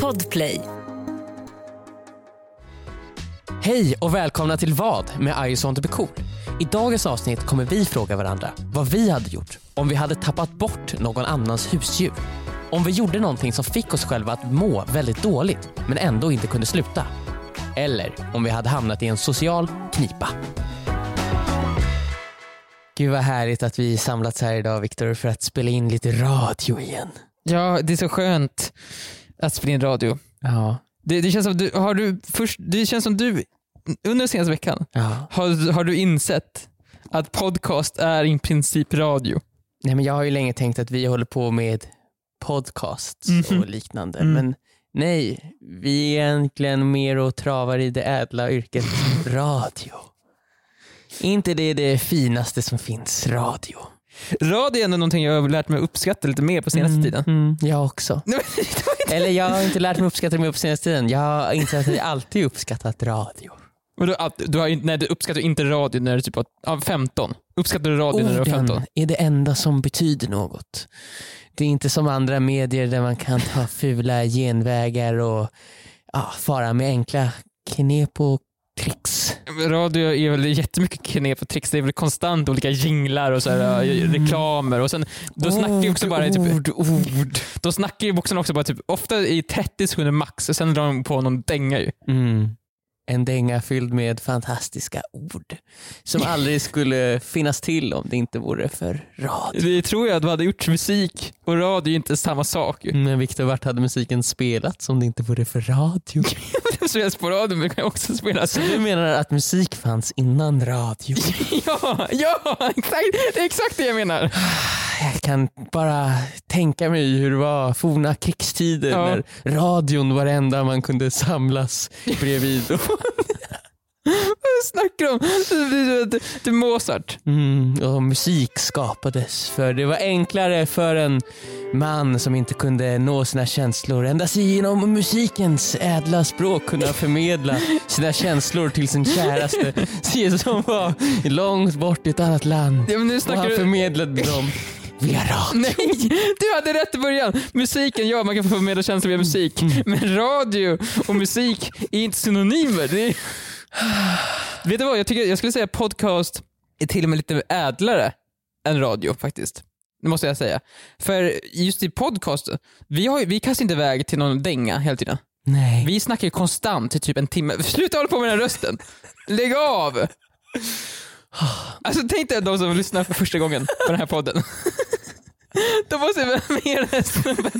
Podplay. Hej och välkomna till Vad med I just want to be cool. I dagens avsnitt kommer vi fråga varandra vad vi hade gjort om vi hade tappat bort någon annans husdjur. Om vi gjorde någonting som fick oss själva att må väldigt dåligt men ändå inte kunde sluta. Eller om vi hade hamnat i en social knipa. Gud vad härligt att vi samlats här idag Viktor för att spela in lite radio igen. Ja, det är så skönt att spela in radio. Ja. Det, det, känns som du, har du först, det känns som du, under den senaste veckan, ja. har, har du insett att podcast är i princip radio? Nej, men jag har ju länge tänkt att vi håller på med podcasts Mhm. och liknande. Mm. Men nej, vi är egentligen mer och travar i det ädla yrket radio. inte det det finaste som finns, radio. Radio är ändå någonting jag har lärt mig uppskatta lite mer på senaste Mm, tiden. Mm, jag också. Nej, men det var inte- Eller jag har inte lärt mig uppskatta det mer på senaste tiden. Jag har inte att jag alltid uppskattat radio. Vadå, att du, har, inte- nej, du uppskattar inte radio när du typ var ja, 15. Uppskattar du radio när du var 15? Orden är det enda som betyder något. Det är inte som andra medier där man kan ta fula genvägar och ja, fara med enkla knep och tricks. Radio är väl jättemycket knep och tricks. Det är väl konstant olika jinglar och så här, ja, reklamer. Och sen, då snackar ju också Mm. Ord, bara typ, Ord, ord. De snackar ju boxarna också bara typ, ofta i 30 sekunder max, och sen drar de på någon dänga ju. Mm. En dänga fylld med fantastiska ord som aldrig skulle finnas till om det inte vore för radio. Vi tror ju att vi hade gjort musik och radio är inte samma sak ju. Men Viktor, vart hade musiken spelats om det inte vore för radio? Det spelas på radio men det kan också spelas. Så du menar att musik fanns innan radio? Ja, ja, exakt, det är exakt det jag menar. Jag kan bara tänka mig hur det var forna krigstider Ja. när radion var det enda man kunde samlas bredvid. Vad snackar du om? Du- du- du- Du är Mozart. Mm, och musik skapades för det var enklare för en man som inte kunde nå sina känslor endast genom musikens ädla språk kunna förmedla sina känslor till sin käraste som var långt bort i ett annat land. Ja, men nu Och snackar han du... förmedlade dem via radio. Nej, du hade rätt i början. Musiken, ja man kan få förmedla känslor via musik. Men radio och musik är inte synonymer. Det är... Vet du vad, jag, tycker, jag skulle säga podcast är till och med lite ädlare än radio faktiskt. Det måste jag säga. För just i podcast, vi, har, ju- vi kastar inte iväg till någon dänga hela tiden. Nej. Vi snackar ju konstant i typ en timme. Sluta hålla på med den här rösten! Lägg av! Alltså tänk dig de som lyssnar för första gången på den här podden. De måste vara med den här snubben.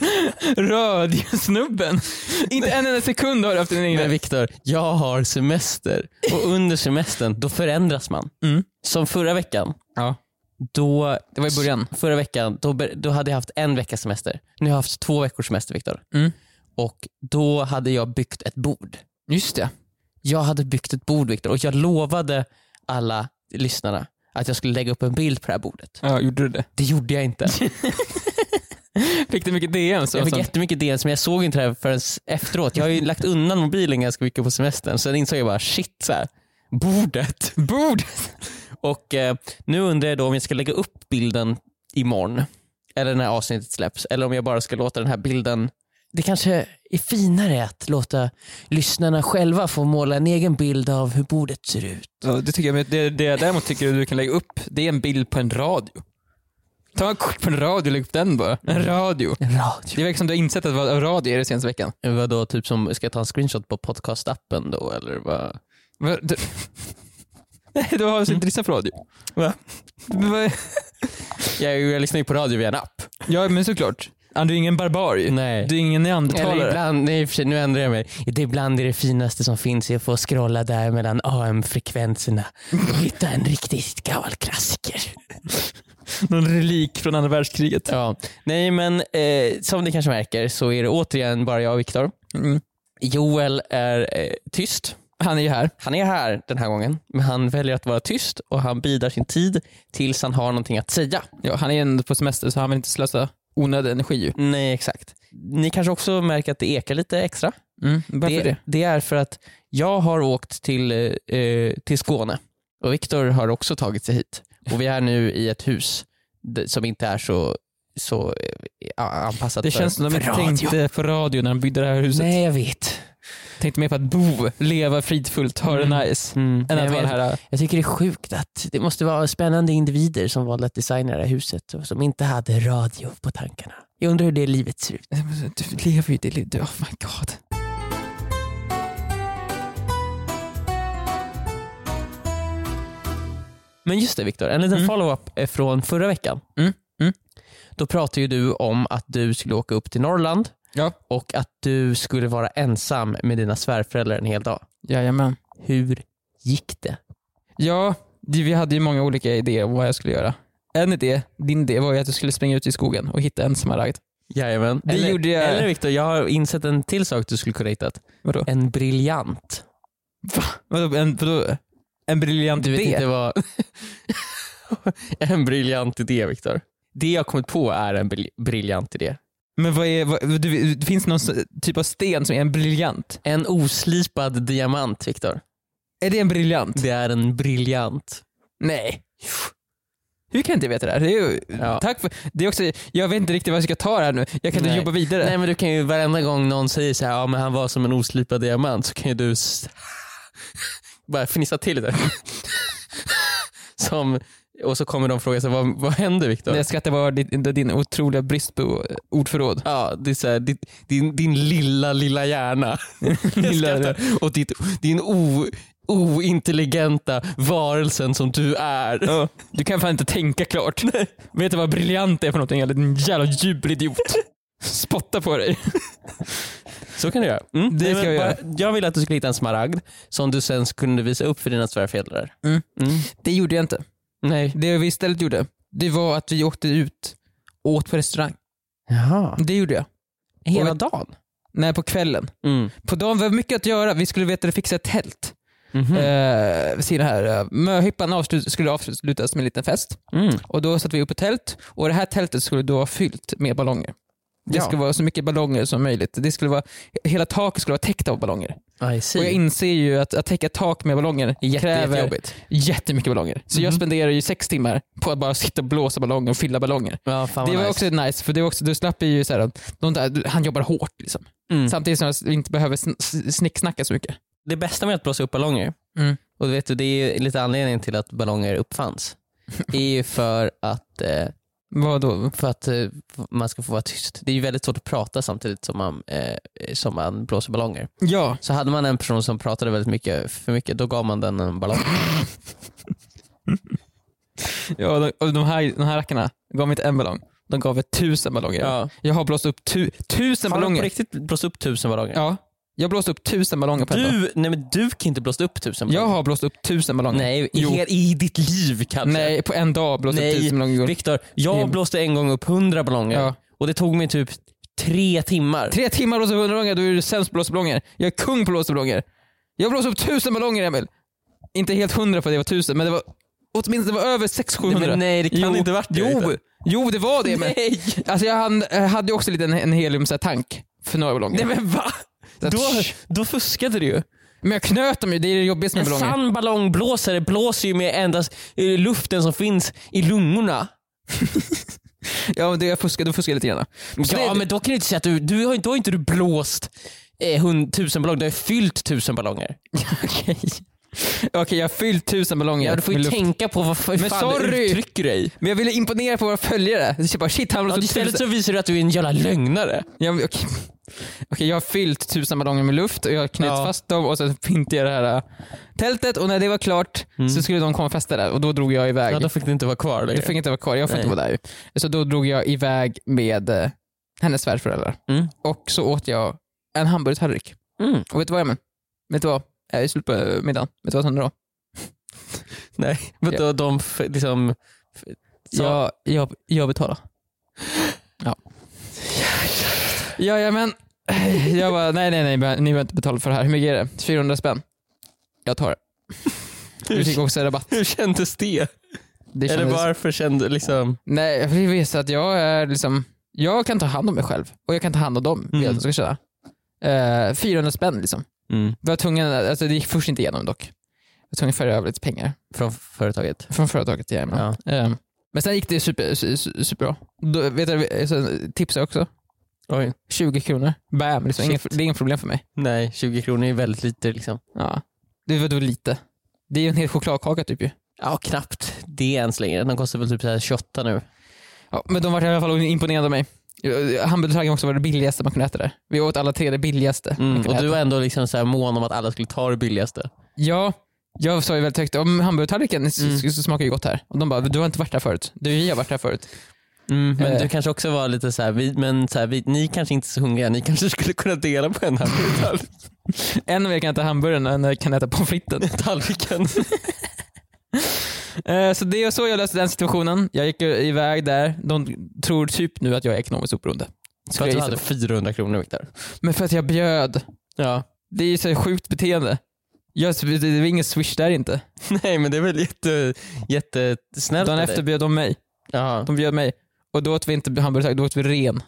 Radiosnubben. Inte en enda sekund har du haft din Men egen. Viktor, jag har semester och under semestern då förändras man. Mm. Som förra veckan. Ja. Då, Det var i början. Förra veckan då, be- då hade jag haft en veckas semester. Nu har jag haft två veckors semester Viktor. Mm. Och då hade jag byggt ett bord. Just det. Jag hade byggt ett bord Viktor och jag lovade alla lyssnarna att jag skulle lägga upp en bild på det här bordet. Ja, gjorde du det? Det gjorde jag inte. Fick du mycket DM? Så Jag fick jättemycket DNs men jag såg inte det här förrän efteråt. Jag har ju lagt undan mobilen ganska mycket på semestern. Sen insåg jag bara shit, så här, bordet. Bord. Och eh, nu undrar jag då om jag ska lägga upp bilden imorgon, eller när avsnittet släpps, eller om jag bara ska låta den här bilden... Det kanske är finare att låta lyssnarna själva få måla en egen bild av hur bordet ser ut. Ja, det tycker jag. Men det, det jag däremot tycker du kan lägga upp, det är en bild på en radio. Ta en kort på en radio och lägg upp den bara. En radio. En radio. Det verkar som du har insett att vad radio är det senaste veckan. Vadå, typ som, ska jag ta en screenshot på podcastappen då eller vad? Va, du... Nej, du har alltså inte lyssnat på radio? Va? Va? Jag, jag lyssnar ju på radio via en app. Ja, men såklart. Ah, Du är ingen barbar ju. Nej. Du är ingen Eller neandertalare. ibland, nej, i och för sig, nu ändrar jag mig. Det ibland är det finaste som finns är att få scrolla där mellan AM-frekvenserna och hitta en riktigt gammal klassiker. Någon relik från andra världskriget. Ja, nej men eh, som ni kanske märker så är det återigen bara jag och Viktor. Mm. Joel är eh, tyst. Han är ju här. Han är här den här gången, men han väljer att vara tyst och han bidar sin tid tills han har någonting att säga. Ja, han är ändå på semester så han vill inte slösa onödig energi ju. Nej, exakt. Ni kanske också märker att det ekar lite extra. Mm. Varför det? det? det är för att jag har åkt till, eh, till Skåne och Viktor har också tagit sig hit. Och Vi är nu i ett hus d- som inte är så så eh, ja, anpassat Det för, känns som de för inte radio. tänkte för radio när de byggde det här huset. Nej, jag vet. Tänkte mer på att bo, leva fridfullt, ha det Mm. nice. Mm. Än Jag, att vara det vet. här... jag tycker det är sjukt att det måste vara spännande individer som valde att designa det här huset och som inte hade radio på tankarna. Jag undrar hur det livet ser ut. Du lever ju ditt liv, du- oh my god. Men just det Viktor, en liten Mm. follow-up eh, från förra veckan. Mm, mm. Då pratade ju du om att du skulle åka upp till Norrland Ja. och att du skulle vara ensam med dina svärföräldrar en hel dag. Jajamän. Hur gick det? Ja, det- vi hade ju många olika idéer om vad jag skulle göra. En idé, din idé, var ju att du skulle springa ut i skogen och hitta en smaragd. Jajamän. Det eller, gjorde jag. Eller Viktor, jag har insett en till sak du skulle kunna hitta. Vadå? En briljant. Vadå, en, vadå? En briljant Du vet idé? inte vad... en briljant idé Viktor. Det jag kommit på är en bril- briljant idé. Men vad är, vad, du, det finns någon s- typ av sten som är en briljant? En oslipad diamant Viktor. Är det en briljant? Det är en briljant. Nej. Hur kan jag inte veta det här? Det är ju, Ja. tack för, det är också, jag vet inte riktigt vad jag ska ta det här nu. Jag kan Nej. inte jobba vidare. Nej men du kan ju varenda gång någon säger så här, ja men han var som en oslipad diamant så kan ju du s- bara fnissa till det. som, och så kommer de fråga sig, vad, vad händer Viktor? Men Jag skrattar bara din, din otroliga brist på ordförråd. Ja, det är så här, din, din, din lilla, lilla hjärna. Jag skrattar åt ditt, din o, ointelligenta varelsen som du är. Ja. Du kan fan inte tänka klart. Vet du vad briljant är för någonting? Eller din jävla jubelidiot. Spotta på dig. Så kan du göra. Mm. Det Nej, ska men jag bara- jag ville att du skulle hitta en smaragd som du sen kunde visa upp för dina svärföräldrar. Mm. Det gjorde jag inte. Nej. Det vi istället gjorde, det var att vi åkte ut och åt på restaurang. Jaha. Det gjorde jag. Hela Och- dagen? Nej, på kvällen. Mm. På dagen var det mycket att göra. Vi skulle veta att fixa ett tält. Mhm. Eh, vid sidan här. eh, Möhippan avslut- skulle avslutas med en liten fest. Mm. Och Då satte vi upp ett tält och det här tältet skulle då vara fyllt med ballonger. Det Ja. skulle vara så mycket ballonger som möjligt. Det skulle vara, hela taket skulle vara täckt av ballonger. I see. Och Jag inser ju att, att täcka tak med ballonger Jätte, kräver jättejobbigt. jättemycket ballonger. Så jag Mhm. spenderar ju sex timmar på att bara sitta och blåsa ballonger och fylla ballonger. Ja, fan det vad var nice. också nice, för det var också, då slapp jag ju så här, de där, han jobbar hårt liksom. Mm. Samtidigt som jag inte behöver sn- s- snicksnacka så mycket. Det bästa med att blåsa upp ballonger, Mm. och vet du, det är ju lite anledningen till att ballonger uppfanns, är ju för att, eh, Vadå? för att eh, man ska få vara tyst. Det är ju väldigt svårt att prata samtidigt som man, eh, som man blåser ballonger. Ja, Så hade man en person som pratade väldigt mycket, för mycket, då gav man den en ballong. ja de, och de, här, de här rackarna gav mig inte en ballong. De gav mig tusen ballonger. Jag har blåst upp tu, tusen Har man på ballonger. riktigt blåst upp tusen ballonger? Ja, jag har blåst upp tusen ballonger på en dag. Du, nej men du kan inte blåsa upp tusen Jag ballonger. har blåst upp tusen ballonger. Nej, i, Jo. he- i ditt liv kanske. Nej, på en dag blåste Nej, upp tusen ballonger. Viktor, jag Mm. blåste en gång upp hundra ballonger Ja. och det tog mig typ tre timmar. Tre timmar blåsa upp hundra ballonger, du är du sämst på att blåsa ballonger. Jag är kung på att blåsa ballonger. Jag blåste upp tusen ballonger Emil. Inte helt hundra för det var tusen, men det var åtminstone det var över sex Nej, 700 men nej, det kan jo, inte varit det. Jo, Viktor. jo, det var det. Men, Nej. alltså jag hann- eh, hade ju också lite en, en heliumtank för några ballonger. nej men va? Så att- Då, då fuskade du ju. Men jag knöt dem ju, det är det jobbigaste En med ballonger. sann ballongblåsare blåser ju med endast eh, luften som finns i lungorna. Ja, men det, jag fuskade, då fuskade jag lite grann. Så ja det, men då kan du inte säga att du, du har, då har inte du blåst eh, hund, tusen ballonger, du har fyllt tusen ballonger. Okej, Okej, jag har fyllt tusen ballonger. Ja, du får ju med luft. tänka på vad fan Men du sorry. uttrycker dig. Men jag ville imponera på våra följare. Så jag bara, shit, han Ja, blåste upp istället tusen. så visar du att du är en jävla lögnare. Ja, men okej. Okej, jag har fyllt tusen ballonger med luft och jag har knutit Ja. fast dem och sen pyntade jag det här äh, tältet och när det var klart så skulle de komma och festa där och då drog jag iväg. Mm. Ja, då fick du inte vara kvar det längre. fick inte vara kvar, jag får Nej. inte vara där ju. Så då drog jag iväg med eh, hennes svärföräldrar Mm. och så åt jag en hamburgertallrik. Mm. Och vet du vad Emil? Vet du vad? Jag är slut på eh, middagen. Vet du vad som hände då? Nej, men då de f- liksom... f- sa- Jag, jag, jag betalar. Ja. ja, men Jag bara, nej nej nej, ni behöver inte betala för det här. Hur mycket är det? 400 spänn. Jag tar det. Vi fick hur, också rabatt. hur kändes det? Det Eller kändes- varför kände liksom... Nej, jag vill visa att jag är liksom, jag kan ta hand om mig själv och jag kan ta hand om dem. vill jag Mm. att de Ska känna. Eh, 400 spänn liksom. Var tvungen, alltså, det gick först inte igenom dock. Jag var tvungen att föra över lite pengar Från företaget? från företaget till Emma. Ja. Ehm, Men sen gick det super, su- su- superbra. Då, vet du, sen tipsade jag också. Oj. 20 kronor. Bam, liksom. Ingen, Shit. det är inget problem för mig. Nej, 20 kronor är väldigt lite liksom. Ja. Det var då lite. Det är ju en hel chokladkaka typ ju. Ja, knappt det ens längre. Den kostar väl typ så här 28 nu. Ja, men de var i alla fall imponerade av mig. Hamburgertagen också var det billigaste man kunde äta där. Vi åt alla tre det billigaste man Mm, kunde och äta. du var ändå liksom så här mån om att alla skulle ta det billigaste. Ja, jag sa ju väldigt högt om hamburgertallriken s- Mm. s- smakar ju gott här. Och de bara, du har inte varit här förut. Du, vi har varit här förut. Men Eh. du kanske också var lite så här, vi, men så här, vi, ni kanske inte är så hungriga, ni kanske skulle kunna dela på en här En av er kan äta hamburgaren och en av er kan äta pommes fritesen. tallriken. Eh, Så det är så jag löste den situationen. Jag gick ju iväg där. De tror typ nu att jag är ekonomiskt oberoende. För Skulle att jag du gissa hade på. 400 kronor Viktor. Men för att jag bjöd. Ja. Det är ju så här sjukt beteende. Jag, det det var ingen swish där inte. Nej men det är väl jätte, jättesnällt Dagen av efter dig. bjöd de mig. Jaha. De bjöd mig. Och då åt vi inte hamburgertallrik, då åt vi ren.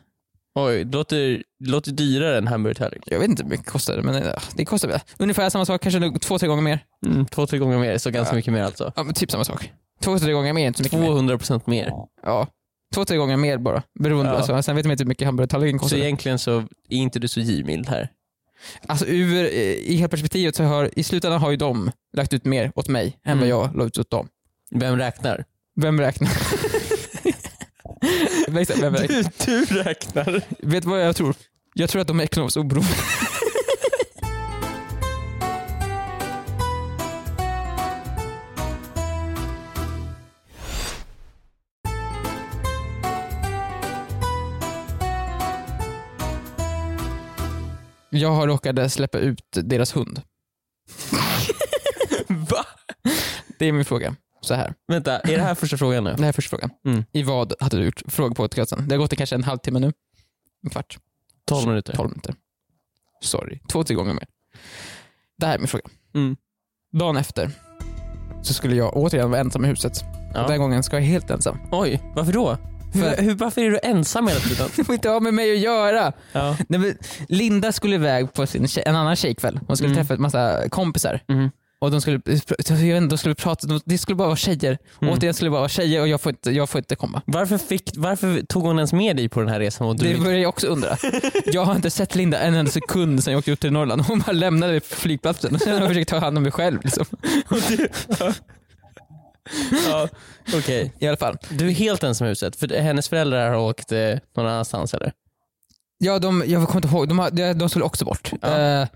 Oj, det låter, det låter dyrare än hamburgertallrik. Jag vet inte hur mycket det kostade, men eh, det kostade väl ungefär samma sak, kanske nog två, tre gånger mer. Mm, två, tre gånger mer, så ganska Ja. mycket mer alltså. Ja, men typ samma sak. Två, tre gånger mer, inte så mycket mer. 200 procent mer. Ja. Två, tre gånger mer bara. Beroende, Ja. alltså, sen vet man inte hur mycket hamburgertallriken Så kostar. egentligen så är inte du så givmild här. Alltså ur, eh, i hela perspektivet så har, i slutändan har ju de lagt ut mer åt mig än Mm. vad jag la ut åt dem. Vem räknar? Vem räknar? Exakt, Vem räknar? du räknar. Vet du vad jag tror? Jag tror att de är ekonomiskt oberoende. Jag har råkat släppa ut deras hund. Va? Det är min fråga. Så här. Vänta, är det här första frågan nu? Det här är första frågan. Mm. I vad hade du gjort? Fråga på podcasten. Det har gått en- kanske en halvtimme nu. En kvart. 12 minuter. 12 minuter. Sorry. Två, tre gånger mer. Det här är min fråga. Mm. Dagen efter så skulle jag återigen vara ensam i huset. Ja. Den här gången ska jag vara helt ensam. Oj, varför då? För- Hur, hur, varför är du ensam hela tiden? Det får inte ha med mig att göra. ja. Nej, men Linda skulle iväg på sin, tje- en annan tjejkväll. Hon skulle Mm. träffa en massa kompisar. Mm. Och de skulle, jag vet inte, de skulle prata, de, det skulle bara vara tjejer. Mm. Återigen skulle det bara vara tjejer och jag får inte, jag får inte komma. Varför, fick, varför tog hon ens med dig på den här resan? Och du Det inte- börjar jag också undra. Jag har inte sett Linda en enda sekund sedan jag åkte ut till Norrland. Hon bara lämnade mig på flygplatsen och sen har jag försökt ta hand om mig själv. Liksom. ja, Okej, I alla fall. du är helt ensam i huset. För hennes föräldrar har åkt eh, någon annanstans eller? Ja, de, jag kommer inte ihåg, de, har- de- de skulle också bort. Ja. Eh,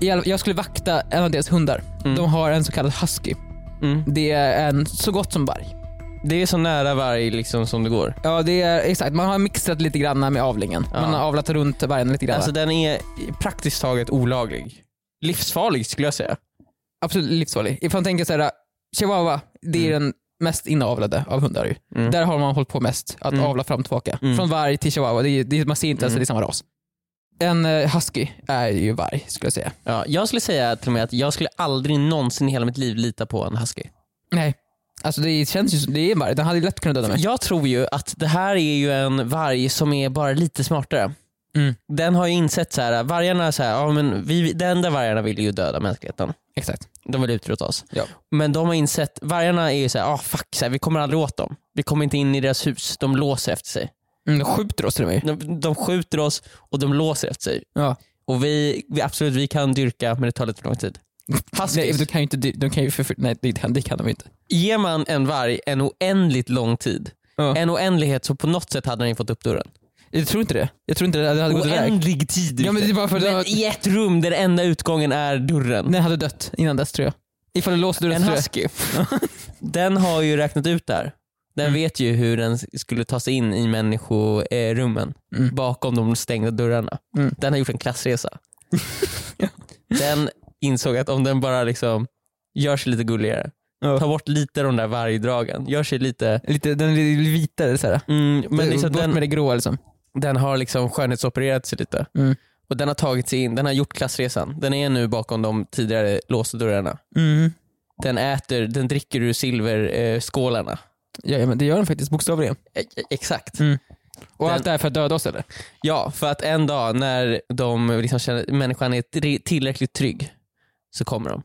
i alla- jag skulle vakta en av deras hundar. Mm. De har en så kallad husky. Det är en så gott som varg. Det är så nära varg liksom som det går. Ja, det är exakt. Man har mixat lite grann med avlingen. Ja. Man har avlat runt vargen lite grann. Alltså den är praktiskt taget olaglig. Livsfarlig skulle jag säga. Absolut livsfarlig. Ifall man tänker såhär, chihuahua, det är den mest inavlade av hundar ju. Mm. Där har man hållit på mest, att Mm. avla fram och tillbaka. Mm. Från varg till chihuahua, det är, det, är- man ser inte ens att det är samma ras. En eh, husky är ju varg skulle jag säga. Ja, jag skulle säga till och med att jag skulle aldrig någonsin i hela mitt liv lita på en husky. Nej. Alltså det känns ju som, det är en varg, den hade ju lätt kunnat döda mig. Jag tror ju att det här är ju en varg som är bara lite smartare. Mm. Den har ju insett så här, vargarna så här, ja, men vi, de enda vargarna vill ju döda mänskligheten. Exakt. De vill utrota oss. Ja. Men de har insett, vargarna är ju så här, ah fuck, så här, vi kommer aldrig åt dem. Vi kommer inte in i deras hus, de låser efter sig. Mm, de skjuter oss till och med. De, de skjuter oss och de låser efter sig. Ja. Och vi, vi, absolut, vi kan dyrka men det tar lite för lång tid. Nej, Huskies, de kan ju inte, de kan ju förfly- nej det kan, det kan de ju inte. ger man en varg en oändligt lång tid, Ja. en oändlighet så på något sätt hade den ju fått upp dörren. Jag tror inte det. Jag tror inte det, det hade gått iväg. Oändlig tid. Ja men det är bara för att Men i ett rum där enda utgången är dörren. den hade dött innan dess tror jag. Ifall du låste dörren En så tror jag- husky. den har ju räknat ut där. Den Mm. vet ju hur den skulle ta sig in i människorummen Mm. bakom de stängda dörrarna. Mm. Den har gjort en klassresa. den insåg att om den bara liksom gör sig lite gulligare, Ja. tar bort lite de där vargdragen, gör sig lite... Lite, den är lite vitare såhär. Mm, men Men liksom Bort den, med det gråa liksom. den har liksom skönhetsopererat sig lite. Mm. Och Den har tagit sig in, den har gjort klassresan. Den är nu bakom de tidigare låsta dörrarna. Mm. Den äter, den dricker ur silverskålarna. Eh, Ja, men det gör den faktiskt bokstavligen. Exakt. Mm. Och Den- allt det här för att döda oss eller? Ja, för att en dag när de liksom känner, människan är tri- tillräckligt trygg så kommer de.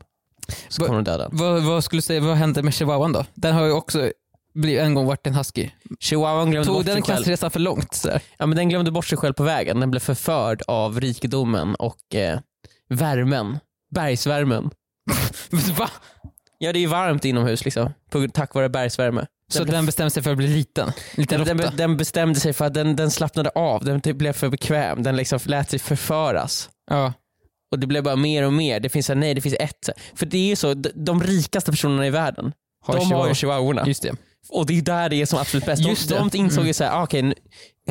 Så Va- kommer de döda den. Vad, vad skulle du säga, vad hände med chihuahuan då? Den har ju också bli- en gång vart en husky. Chihuahuan glömde Tog bort den sig själv. klassresan för långt? Så här. Ja, men den glömde bort sig själv på vägen. Den blev förförd av rikedomen och eh, värmen. Bergsvärmen. Va? Ja, det är ju varmt inomhus liksom, på, tack vare bergsvärme. Så Den den, blev- bestämde sig för att bli liten? Liten Den, råtta? den, den bestämde sig för att den, den slappnade av, den typ blev för bekväm, den liksom lät sig förföras. ja. Och det blev bara mer och mer. Det finns så här, nej det finns ett. För det är ju så, d- de rikaste personerna i världen, Har de har chihuahua. ju chihuahuorna. Just det. Och det är där det är som absolut bäst. Just De, det. Mm. de insåg ju såhär, ah, okej, nu-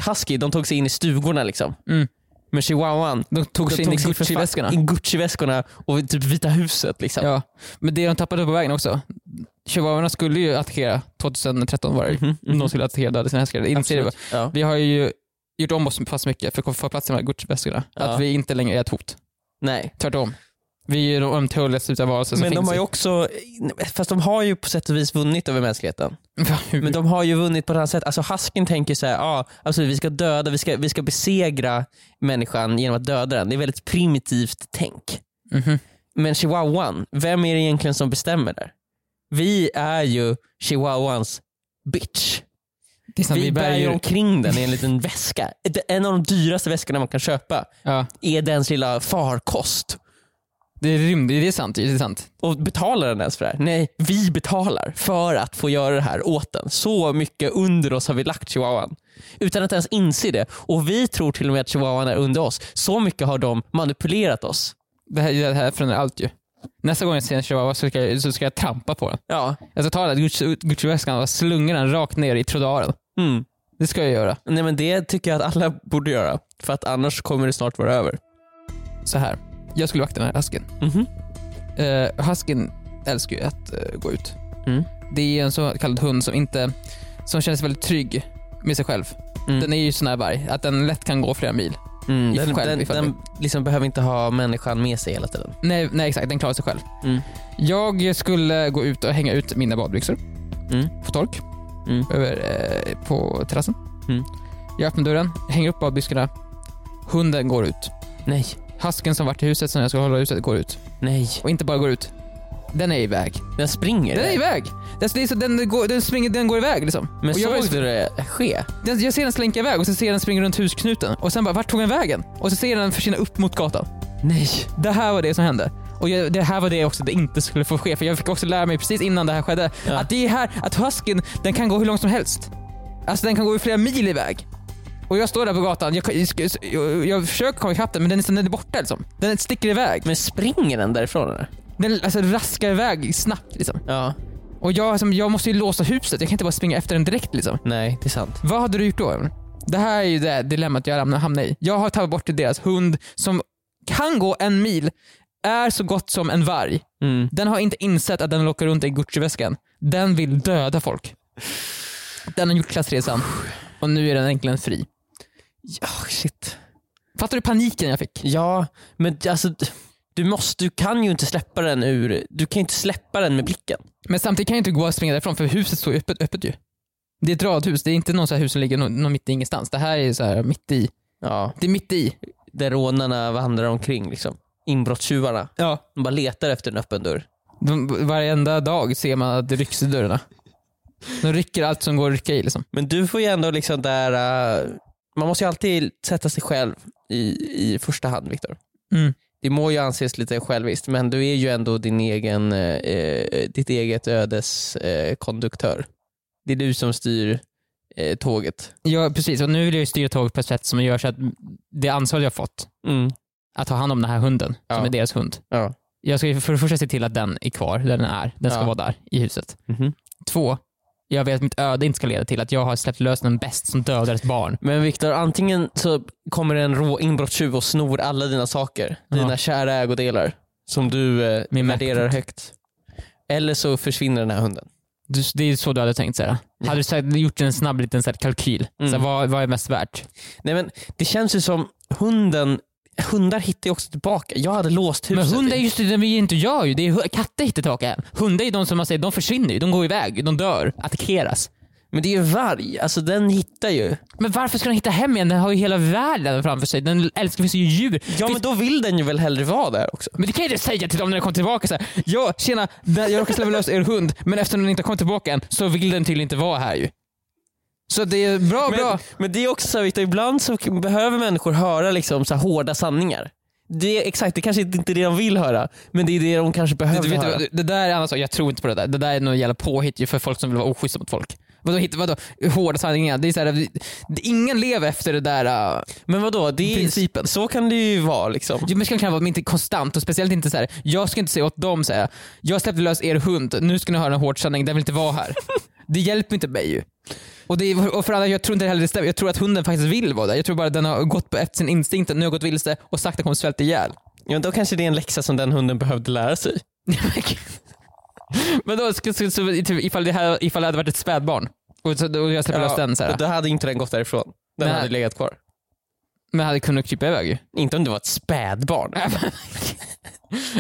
husky, de tog sig in i stugorna liksom. Mm. Men chihuahuan, De tog de sig in i sig för fan Gucci-väskorna. In Gucci-väskorna och typ Vita huset liksom. Ja. Men det de tappade på vägen också. Chihuahuorna skulle ju attackera 2013 var det Mhm, mhm. De skulle attackera och döda sina hästar. Det inser vi. Absolut. Ja. Vi har ju gjort om oss fast mycket för att få plats i de här Gucci-väskorna. Ja. Att vi inte längre är ett hot. Nej. Tvärtom. Vi är ju de ömtåligaste utav varelser som Men de finns. har ju också, fast de har ju på sätt och vis vunnit över mänskligheten. ju... Men de har ju vunnit på ett annat sätt. Alltså Husken tänker så här, ah, alltså vi ska döda, vi ska, vi ska besegra människan genom att döda den. Det är väldigt primitivt tänk. Mhm. Men chihuahuan, vem är det egentligen som bestämmer där? Vi är ju chihuahuans bitch. Det är som Vi, vi bär ju bär ju... omkring den i en liten väska. Ett- En av de dyraste väskorna man kan köpa Ja. är dens lilla farkost. Det är rymd, det är sant. Det är sant. Och betalar den ens för det här? Nej, vi betalar för att få göra det här åt den. Så mycket under oss har vi lagt chihuahuan. Utan att ens inse det. Och vi tror till och med att chihuahuan är under oss. Så mycket har de manipulerat oss. Det här, det här förändrar allt ju. Nästa gång jag ser en chihuahua så ska jag, så ska jag trampa på den. Ja. Jag ska ta den här Gucci- Gucci-väskan och slunga den rakt ner i trottoaren. Mm. Det ska jag göra. Nej men Det tycker jag att alla borde göra. För att annars kommer det snart vara över. Så här. Jag skulle vakta den här husken. Mhm. Uh, husken älskar ju att eh, gå ut. Mm. Det är en så kallad hund som inte som känner sig väldigt trygg med sig själv. Mm. Den är ju sån här varg, att den lätt kan gå flera mil. Mm, I den själv, den, ifall den liksom behöver inte ha människan med sig hela tiden. Nej, nej exakt, den klarar sig själv. Mm. Jag skulle gå ut och hänga ut mina badbyxor Mm. på tork Mm. över, eh, på terrassen. Mm. Jag öppnar dörren, hänger upp badbyxorna. Hunden går ut. Nej, Hasken som varit i huset, som jag ska hålla i huset, går ut. nej. Och inte bara går ut. Den är iväg. Den springer. Den är iväg! Den, det är så, den, går, den, springer, den går iväg liksom. Men och jag, såg du det ske? den, jag ser den slänka iväg och så ser jag den springa runt husknuten. Och sen bara, vart tog den vägen? Och så ser jag den försvinna upp mot gatan. Nej. Det här var det som hände. Och jag, det här var det också det inte skulle få ske. För jag fick också lära mig precis innan det här skedde Ja. att det är här, att husken, den kan gå hur långt som helst. Alltså den kan gå flera mil iväg. Och jag står där på gatan, jag, jag, jag, jag försöker komma ikapp den men den är, den är borta liksom. Den sticker iväg. Men springer den därifrån eller? Den alltså, raskar iväg snabbt liksom. Ja. Och jag, som, jag måste ju låsa huset, jag kan inte bara springa efter den direkt liksom. Nej, det är sant. Vad hade du gjort då? Emil? Det här är ju det dilemmat jag hamnar- hamnar i. Jag har tagit bort deras hund som kan gå en mil, är så gott som en varg. Mm. Den har inte insett att den lockar runt i Gucci-väskan. Den vill döda folk. Den har gjort klassresan och nu är den äntligen fri. Ja, shit. Fattar du paniken jag fick? Ja, men alltså du, måste, du kan ju inte släppa den ur... Du kan ju inte släppa den med blicken. Men samtidigt kan jag inte gå och springa därifrån för huset står ju öppet, öppet ju. Det är ett radhus, det är inte någon så här hus som ligger nå- nå mitt i ingenstans. Det här är så här mitt i. Ja. Det är mitt i. Där rånarna vandrar omkring liksom. Inbrottstjuvarna. Ja. De bara letar efter en öppen dörr. De, varenda dag ser man att det rycks i dörrarna. De rycker allt som går att rycka i liksom. Men du får ju ändå liksom där... eh, man måste ju alltid sätta sig själv i, i första hand, Viktor. Mm. Det må ju anses lite själviskt, men du är ju ändå din egen, eh, eh, ditt eget ödes eh, konduktör. Det är du som styr eh, tåget. Ja, precis. Och nu vill jag ju styra tåget på ett sätt som gör så att det ansvar jag fått, Mm. att ta hand om den här hunden, Ja. som är deras hund. Ja. Jag ska ju för det första se till att den är kvar där den är. Den ska Ja. vara där i huset. Mhm. Två, jag vet att mitt öde inte ska leda till att jag har släppt lös den bäst som dödar ett barn. Men Viktor, antingen så kommer en rå inbrottstjuv och snor alla dina saker, Ja. dina kära ägodelar som du eh, Min värderar högt. Eller så försvinner den här hunden. Du, det är så du hade tänkt Sarah. Ja. Hade du sagt, gjort en snabb liten så här, kalkyl, Mm. så här, vad, vad är mest värt? Nej men Det känns ju som hunden, hundar hittar ju också tillbaka. Jag hade låst huset. Men hundar är i- just det, de är inte jag ju. Det är hu- katter hittar tillbaka. Hundar är de som man säger, de försvinner ju. De går iväg, de dör, attackeras. Men det är ju en varg, alltså den hittar ju. Men varför ska den hitta hem igen? Den har ju hela världen framför sig. Den älskar, det finns ju djur. Ja Finns- men då vill den ju väl hellre vara där också. Men det kan jag inte säga till dem när de kommer tillbaka. Så här, ja, tjena, där- jag råkade släppa lös er hund, men eftersom den inte har kommit tillbaka än så vill den tydligen inte vara här ju. Så det är bra, Men, bra. men det är också så här, Victor, ibland så k- behöver människor höra liksom så här hårda sanningar. Det är, exakt, det kanske inte är det de vill höra, men det är det de kanske behöver Du, vet, höra. du, det där är annars, jag tror inte på det där. Det där är nog jävla påhitt ju för folk som vill vara oschyssta mot folk. Vadå, hit- vadå hårda sanningar? Det är så här, det- det- ingen lever efter det där. Uh, men vadå, det är, Principen. så kan det ju vara. Liksom. jo, men det ska kunna vara men inte konstant och speciellt inte så här. jag ska inte säga åt dem säga, jag släppte lös er hund, nu ska ni höra en hård sanning, den vill inte vara här. det hjälper inte mig ju. Och, det är, och för alla, jag tror inte heller det stämmer. Jag tror att hunden faktiskt vill vara där. Jag tror bara att den har gått på- efter sin instinkt, nu har gått vilse och sakta kommer svälta ihjäl. Ja, men då kanske det är en läxa som den hunden behövde lära sig. Typ Men då, så, så, så, typ, ifall, det här, ifall det hade varit ett spädbarn och, så, och jag släpper lös den så här. och då hade inte den gått därifrån. Den Nej. hade legat kvar. Men hade kunnat krypa iväg ju. Inte om det var ett spädbarn.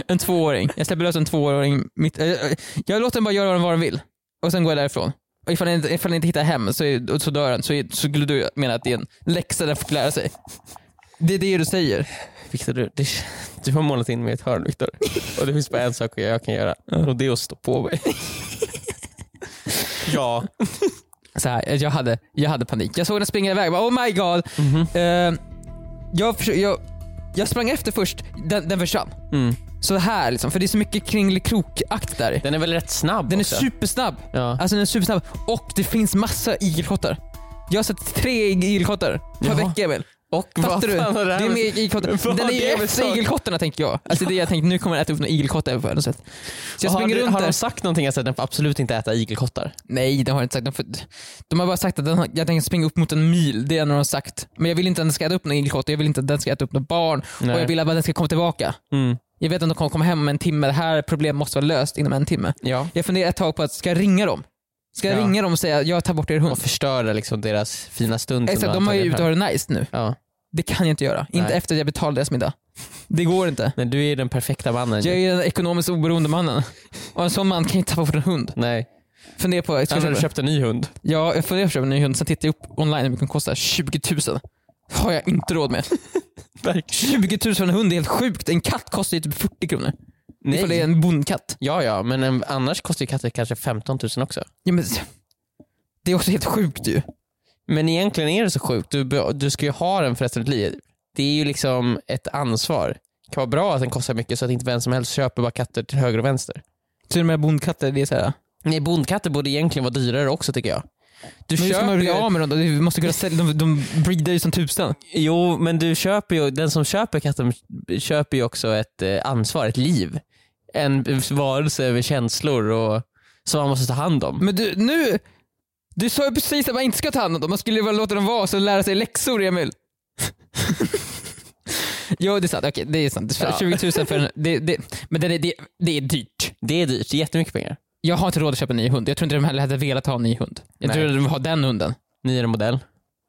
En tvååring. Jag släpper lös en tvååring. Mitt, eh, eh, jag låter den bara göra vad den vill. Och sen går jag därifrån. Och ifall den, inte- ifall den inte hittar hem så, är- och så dör den. Så, är- så skulle du mena att det är en läxa den får lära sig. Det är det du säger. Victor, du, det, du har målat in mig i ett hörn Victor. Och det finns bara en sak jag kan göra och det är att stå på mig. ja. Så här, eh, jag, hade, jag hade panik. Jag såg den springa iväg. Jag Bara, oh my god. Mhm. Eh, jag, försö- jag, jag sprang efter först. Den, den försvann. Mm. Så här liksom. För det är så mycket kringelikrokakt där. Den är väl rätt snabb Den är också? supersnabb. Ja. Alltså den är supersnabb. Och det finns massa igelkottar. Jag har sett tre igelkottar per Jaha. vecka Emil. Och Fattar du? har Det är med- mer igelkottar. Vad Den har är det ju för sak? igelkottarna tänker jag. Alltså det jag tänkte, nu kommer den äta upp några igelkottar på något sätt. Så jag har, springer du- runt har där. de sagt någonting alltså, att den får absolut inte äta igelkottar? Nej, det har jag inte sagt. De, får- de har bara sagt att den, har- jag tänker springa upp mot en mil. Det är när de har sagt. Men jag vill inte att den ska äta upp några igelkottar. Jag vill inte att den ska äta upp några barn. Nej. Och jag vill att den ska komma tillbaka. Mm. Jag vet att de kommer komma hem om en timme. Det här problemet måste vara löst inom en timme. Ja. Jag funderar ett tag på att, ska jag ringa dem? Ska jag Ja. ringa dem och säga, jag tar bort er hund? Och förstöra liksom deras fina stund. som Exakt, de har ju antagligen ute och här. har det nice nu. Ja. Det kan jag inte göra. Inte Nej. efter att jag betalat deras middag. Det går inte. Men du är ju den perfekta mannen. Jag är den ekonomiskt oberoende mannen. Och en sån man kan ju inte tappa bort en hund. Nej. Fundera på, ska Annars jag har du köpa, köpt en ny hund. ja, jag funderar på att köpa en ny hund, sen tittar jag upp online hur mycket den kostar. 20 000. har jag inte råd med. 20 000 för en hund är helt sjukt. En katt kostar ju typ 40 kronor. Nej. Ifall det är en bondkatt. Ja, ja, men en, annars kostar ju katter kanske 15 000 också. Ja, men, det är också helt sjukt ju. Men egentligen är det så sjukt. Du, be- du ska ju ha den för resten av ditt liv. Det är ju liksom ett ansvar. Det kan vara bra att den kostar mycket så att inte vem som helst köper bara katter till höger och vänster. Så de här bondkatter, det är så här. Nej, bondkatter borde egentligen vara dyrare också tycker jag. Du Men hur ska man bli ju- av med dem då? Vi måste kunna sälja, de, de breedar ju som tusan. Jo, men du köper ju, den som köper katten köper ju också ett eh, ansvar, ett liv. En varelse med känslor och, som man måste ta hand om. Men du, nu... Du sa ju precis att man inte ska ta hand om dem. Man skulle ju bara låta dem vara så lära sig läxor, Emil. jo, det är sant. Okej, det är sant. Ja. 20 000 för en... Det, det, men det, det, det är dyrt. Det är dyrt, det är jättemycket pengar. Jag har inte råd att köpa en ny hund. Jag tror inte de heller hade velat ha en ny hund. Jag Nej. tror att de vill ha den hunden. Nyare modell,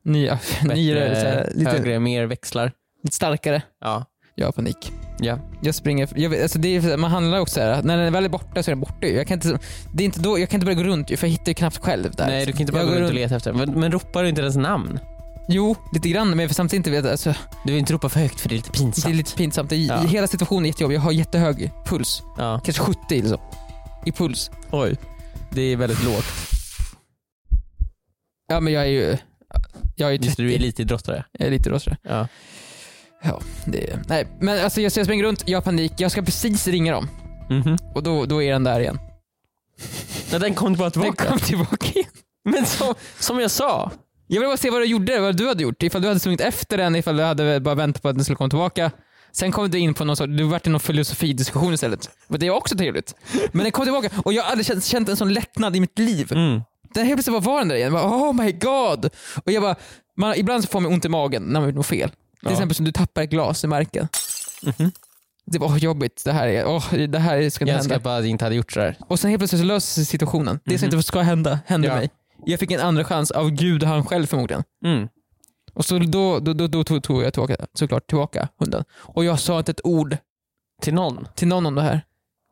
Nya, nyare, så här, bättre, lite, högre, mer växlar. lite starkare. Ja. Jag har panik. Ja. Jag springer... Jag, vet- alltså det är, man handlar också så här. När den väl är borta så är den borta ju. jag kan inte, det är inte då Jag kan inte börja gå runt ju, för jag hittar ju knappt själv där. Nej, du kan inte bara Jag gå går runt och runt- leta efter den. Men, men ropar du inte dess namn? Jo, lite grann, men jag vill samtidigt inte veta. Alltså, Du vill inte ropa för högt för det är lite pinsamt. Det är lite pinsamt. I, Ja. i hela situationen är jättejobbig. Jag har jättehög puls. Ja. Kanske 70 eller så. I puls. Oj, det är väldigt lågt. Ja men jag är ju... Jag är ju 30. Just det, du är elitidrottare. Jag är lite rosa. Ja. Det är, nej, men alltså jag, så jag springer runt, jag har panik. Jag ska precis ringa dem. Mhm. Och då, då är den där igen. Ja, den kom bara Den tillbaka. kom tillbaka igen. Men som, som jag sa, Jag vill bara se vad du gjorde, vad du hade gjort. Ifall du hade sprungit efter den, ifall du hade bara väntat på att den skulle komma tillbaka. Sen kom du in på någon sorts, du vart i någon filosofidiskussion istället. Men det är också trevligt. Men den kom tillbaka och jag har aldrig känt, känt en sån lättnad i mitt liv. Mm. Den helt plötsligt bara var den där igen. Jag Bara, oh my god. Och jag bara, man, ibland så får man ont i magen när man gjort något fel. Till Ja. Mhm. exempel som du tappar ett glas i marken. Det var oh, jobbigt, det här är, oh, det här ska inte jag hända. önskar bara att jag inte hade gjort sådär. Och sen helt plötsligt så löser sig situationen. Det som inte ska hända, hände Mhm. Ja. mig. Jag fick en andra chans av Gud och han själv förmodligen. Mm. Och så då, då, då, då tog, tog jag tillbaka, såklart tillbaka hunden. Och jag sa inte ett ord Till någon. till någon om det här.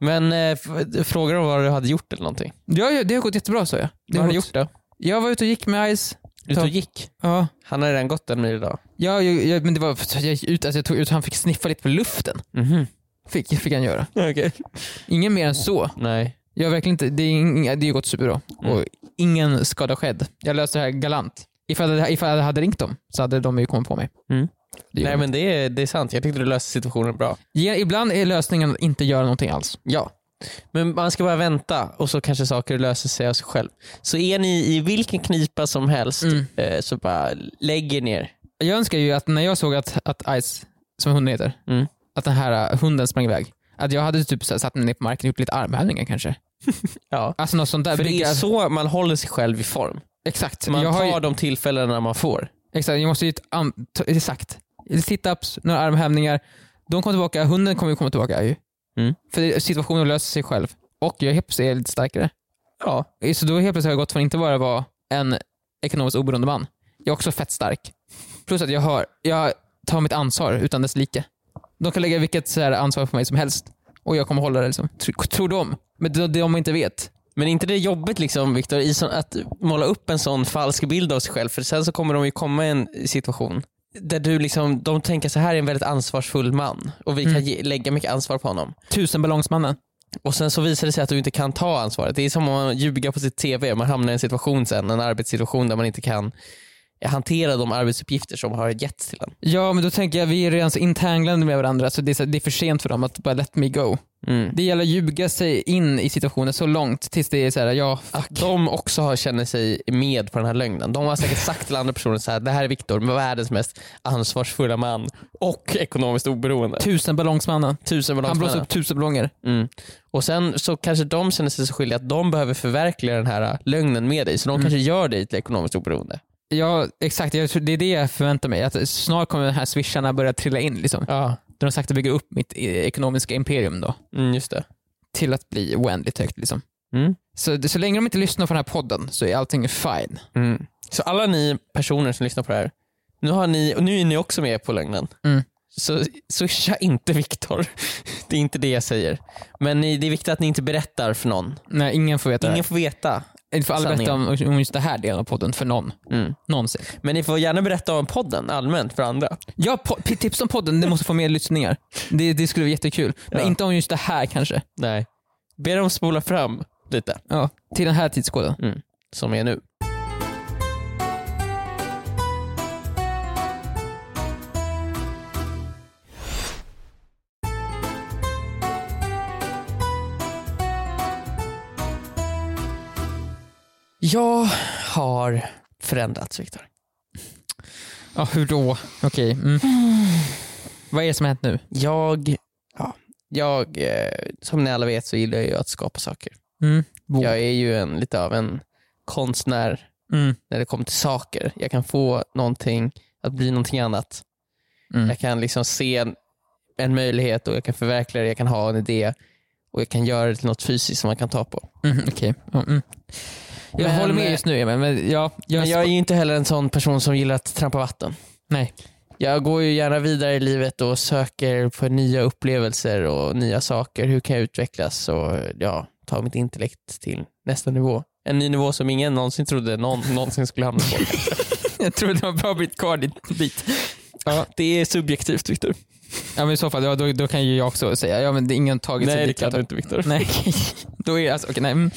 Men eh, f- frågar de vad du hade gjort eller någonting? Ja, ja, det har gått jättebra sa jag. Det vad har du gått- gjort då? Jag var ute och gick med Ice. Ut och gick. Ja. Han har redan gått en mil idag. Ja, jag, jag, men det var, jag, gick ut, alltså jag tog ut han fick sniffa lite på luften. Mhm. Fick, fick han göra. Okej. Ingen mer än så. Nej. Jag har verkligen inte, det, är inga, det har ju gått superbra. Mm. Och ingen skada skedd. Jag löste det här galant. Ifall jag, ifall jag hade ringt dem så hade de ju kommit på mig. Mm. Det gjorde Nej men det är, det är sant. Jag tyckte du löste situationen bra. de. Ge- Ibland är lösningen att inte göra någonting alls. Ja. Men man ska bara vänta och så kanske saker löser sig av sig själv. Så är ni i vilken knipa som helst Mm. eh, så bara lägg er ner. Jag önskar ju att när jag såg att, att Ice, som hunden heter, Mm. att den här äh, hunden sprang iväg. Att jag hade typ så här satt mig ner på marken och gjort lite armhävningar kanske. Ja. Alltså något sånt där. För det är Brygga- så man håller sig själv i form. Exakt. Man jag har tar ju- de tillfällena man får. Exakt, jag måste ju... ta- an- ta- Exakt. Sit-ups, några armhävningar. De kommer tillbaka, hunden kommer ju komma tillbaka ju. Mm. För situationen löser sig själv. Och jag helt plötsligt är lite starkare. Ja. Så då helt plötsligt har jag gått från att inte bara vara en ekonomiskt oberoende man. Jag är också fett stark. Plus att jag, har, jag tar mitt ansvar utan dess like. De kan lägga vilket så här ansvar på mig som helst och jag kommer hålla det. Liksom. Tr- Tror de. Men det det de inte vet. Men är inte det jobbigt liksom Viktor, i sån- att måla upp en sån falsk bild av sig själv? För sen så kommer de ju komma i en situation där du liksom, de tänker så här är en väldigt ansvarsfull man och vi kan Mm. ge, lägga mycket ansvar på honom. Tusenballongsmannen. Och sen så visar det sig att du inte kan ta ansvaret. Det är som om man ljuger på sitt TV. Man hamnar i en situation sen, en arbetssituation där man inte kan hantera de arbetsuppgifter som har getts till en. Ja, men då tänker jag vi är redan så intanglade med varandra så det är, så det är för sent för dem att bara let me go. Mm. Det gäller att ljuga sig in i situationen så långt tills det är så här, ja, fuck. Att de också har, känner sig med på den här lögnen. De har säkert sagt till andra personer så här, det här är Viktor, världens mest ansvarsfulla man och ekonomiskt oberoende. Tusenballongsmannen. Tusen Han blåser ballongspelare. upp tusen ballonger. Mm. Och sen så kanske de känner sig så skyldiga att de behöver förverkliga den här äh, lögnen med dig. Så de Mm. kanske gör dig till ekonomiskt oberoende. Ja, exakt. Jag tror det är det jag förväntar mig. Att snart kommer de här swisharna börja trilla in. Liksom. Ja, Där de sakta bygger upp mitt eh, ekonomiska imperium då, mm, just det. till att bli oändligt högt. Liksom. Mm. Så, så länge de inte lyssnar på den här podden så är allting fine. Mm. Så alla ni personer som lyssnar på det här, nu, har ni, och nu är ni också med på lögnen. Mm. Så swisha inte Viktor. Det är inte det jag säger. Men ni, det är viktigt att ni inte berättar för någon. Nej, ingen får veta Ingen får veta. det här. Du får aldrig berätta om, sanningen. om just det här delen av podden för någon. Mm. Någonsin. Men ni får gärna berätta om podden allmänt för andra. Ja, po- p- tips om podden. Det måste få mer lyssningar. Det, det skulle vara jättekul. Men Ja. inte om just det här kanske. Nej. Be dem spola fram lite, Ja, till den här tidskoden. Mm. som är nu. Jag har förändrats, Viktor. Ja, hur då? Okej. Mm. Vad är det som har hänt nu? Jag, ja, jag, eh, som ni alla vet så gillar jag ju att skapa saker. Mm. Bo. Jag är ju en, lite av en konstnär Mm. när det kommer till saker. Jag kan få någonting att bli någonting annat. Mm. Jag kan liksom se en, en möjlighet och jag kan förverkliga det. Jag kan ha en idé och jag kan göra det till något fysiskt som man kan ta på. Mm. Okej. Ja, mm. Jag Men, håller med eh, just nu Emil, men ja, jag, Men jag är ju inte heller en sån person som gillar att trampa vatten. Nej. Jag går ju gärna vidare i livet och söker på nya upplevelser och nya saker. Hur kan jag utvecklas och ja, ta mitt intellekt till nästa nivå? En ny nivå som ingen någonsin trodde någon någonsin skulle hamna på. jag tror det var bra bit kvar dit. dit. ja. Det är subjektivt Viktor. Ja, men I så fall, ja, då, då kan ju jag också säga, ja men det är ingen tagit sig Nej det dit. kan du inte Viktor. Nej, då är det alltså, okej nej. Mm.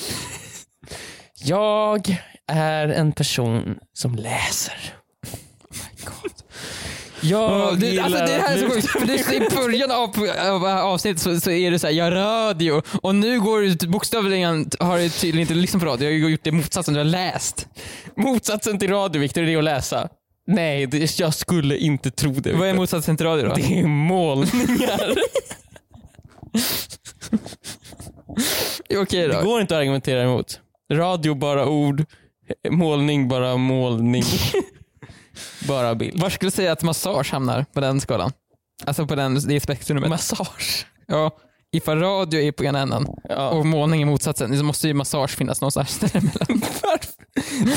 Jag är en person som läser. Oh Jag Ja, det, alltså, det är det här är så att sjukt, för det är så i början av, av eh, avsnittet så, så är det så här, jag rör radio och nu går du till- bokstavligen, har du tydligen inte lyssnat på radio, jag har gjort det motsatsen, du har läst. Motsatsen till radio Viktor, det är att läsa. Nej, det, jag skulle inte tro det. Vad är Viktor. motsatsen till radio då? Det är målningar. Okej det då. går inte att argumentera emot. Radio bara ord, målning bara målning. bara bild. Var skulle du säga att massage hamnar på den skalan? Alltså på den, det spektrumet? Massage. ja, ifall radio är på ena änden Ja. och målning är motsatsen, så måste ju massage finnas någonstans däremellan.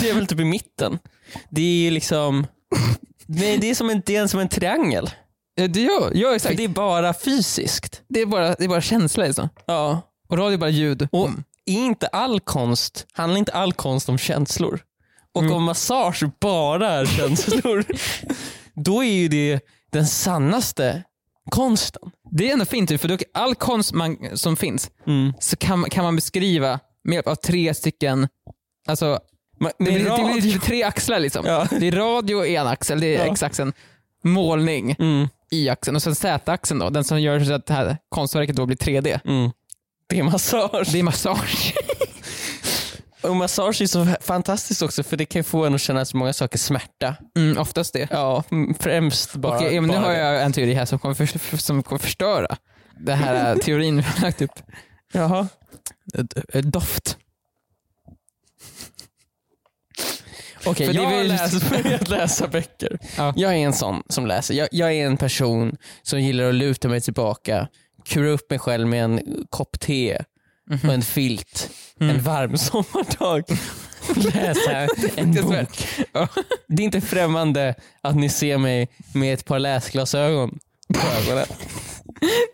Det är väl typ i mitten. Det är ju liksom... Nej, det är som en, det är som en triangel. Ja, det gör, ja För exakt. det är bara fysiskt. Det är bara, det är bara känsla liksom. Ja. Och radio är bara ljud. Mm. Och är inte all konst, handlar inte all konst om känslor? och om massage bara är känslor, då är ju det den sannaste konsten. Det är ändå fint, ju, för då, all konst man, som finns Mm. så kan, man- kan man beskriva med hjälp av tre stycken, alltså Men- det men blir, det rad- blir typ tre axlar liksom. Ja. Det är radio i en axel, det är Ja. x-axeln. Målning Mm, i axeln och sen z-axeln då, den som gör så att det här konstverket då blir 3D. mm. Det är massage. Det är massage. Och massage är så fantastiskt också för det kan få en att känna så många saker smärta. Mm, oftast det. Ja, mm, främst bara. Okej, men nu bara har det. jag en teori här som kommer, för, som kommer förstöra den här eh, teorin vi har lagt upp. Jaha. D- eh, Doft. Okej, För det jag var ju- läser börjat läsa böcker. Ja. Jag är en sån som läser. Jag, jag är en person som gillar att luta mig tillbaka, kura upp mig själv med en kopp te och Mm. en filt en varm sommardag och läsa en bok. Ja. Det är inte främmande att ni ser mig med ett par läsglasögon på ögonen.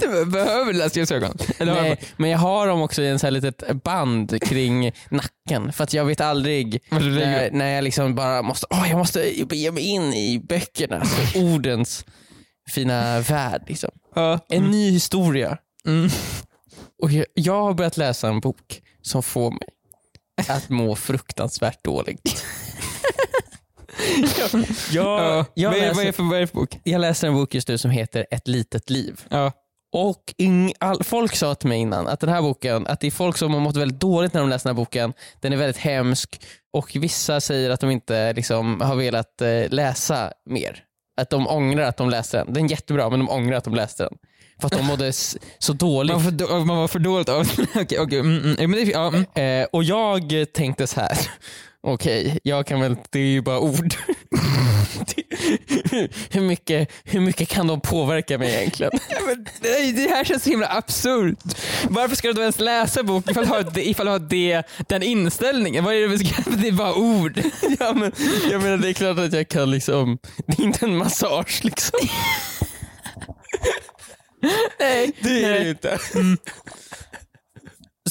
Du behöver läsglasögon. Eller har Nej, men jag har dem också i en sån här litet band kring nacken för att jag vet aldrig jag- Eller lägger- när, när jag liksom bara måste, åh, jag måste ge mig in i böckerna, alltså, ordens fina värld. Liksom. Ja. En ny historia. Mm. Och jag, jag har börjat läsa en bok som får mig att må fruktansvärt dåligt. Ja. jag, jag, vad, är, läser, vad, är för, vad är det för bok? jag läser en bok just nu som heter Ett litet liv. Ja. Och ing, all, folk sa till mig innan att den här boken, att det är folk som har mått väldigt dåligt när de läser den här boken. Den är väldigt hemsk och vissa säger att de inte liksom, har velat eh, läsa mer. Att de ångrar att de läste den. Den är jättebra men de ångrar att de läste den. För att de mådde s- så dåligt. Man, var för, då- man var för dåligt av... Okej, okej. Mm, mm, men det, ja, mm. Eh, och jag tänkte så här. Okej, jag kan väl, det är ju bara ord. Det- hur, mycket, hur mycket kan de påverka mig egentligen? Nej, det här känns så himla absurt. Varför ska du då ens läsa bok ifall du har, det- ifall du har det, den inställningen? Vad är det vi ska... Det är bara ord. Ja, men, jag menar det är klart att jag kan liksom, det är inte en massage liksom. Nej. Det är det Nej. Mm. ju inte.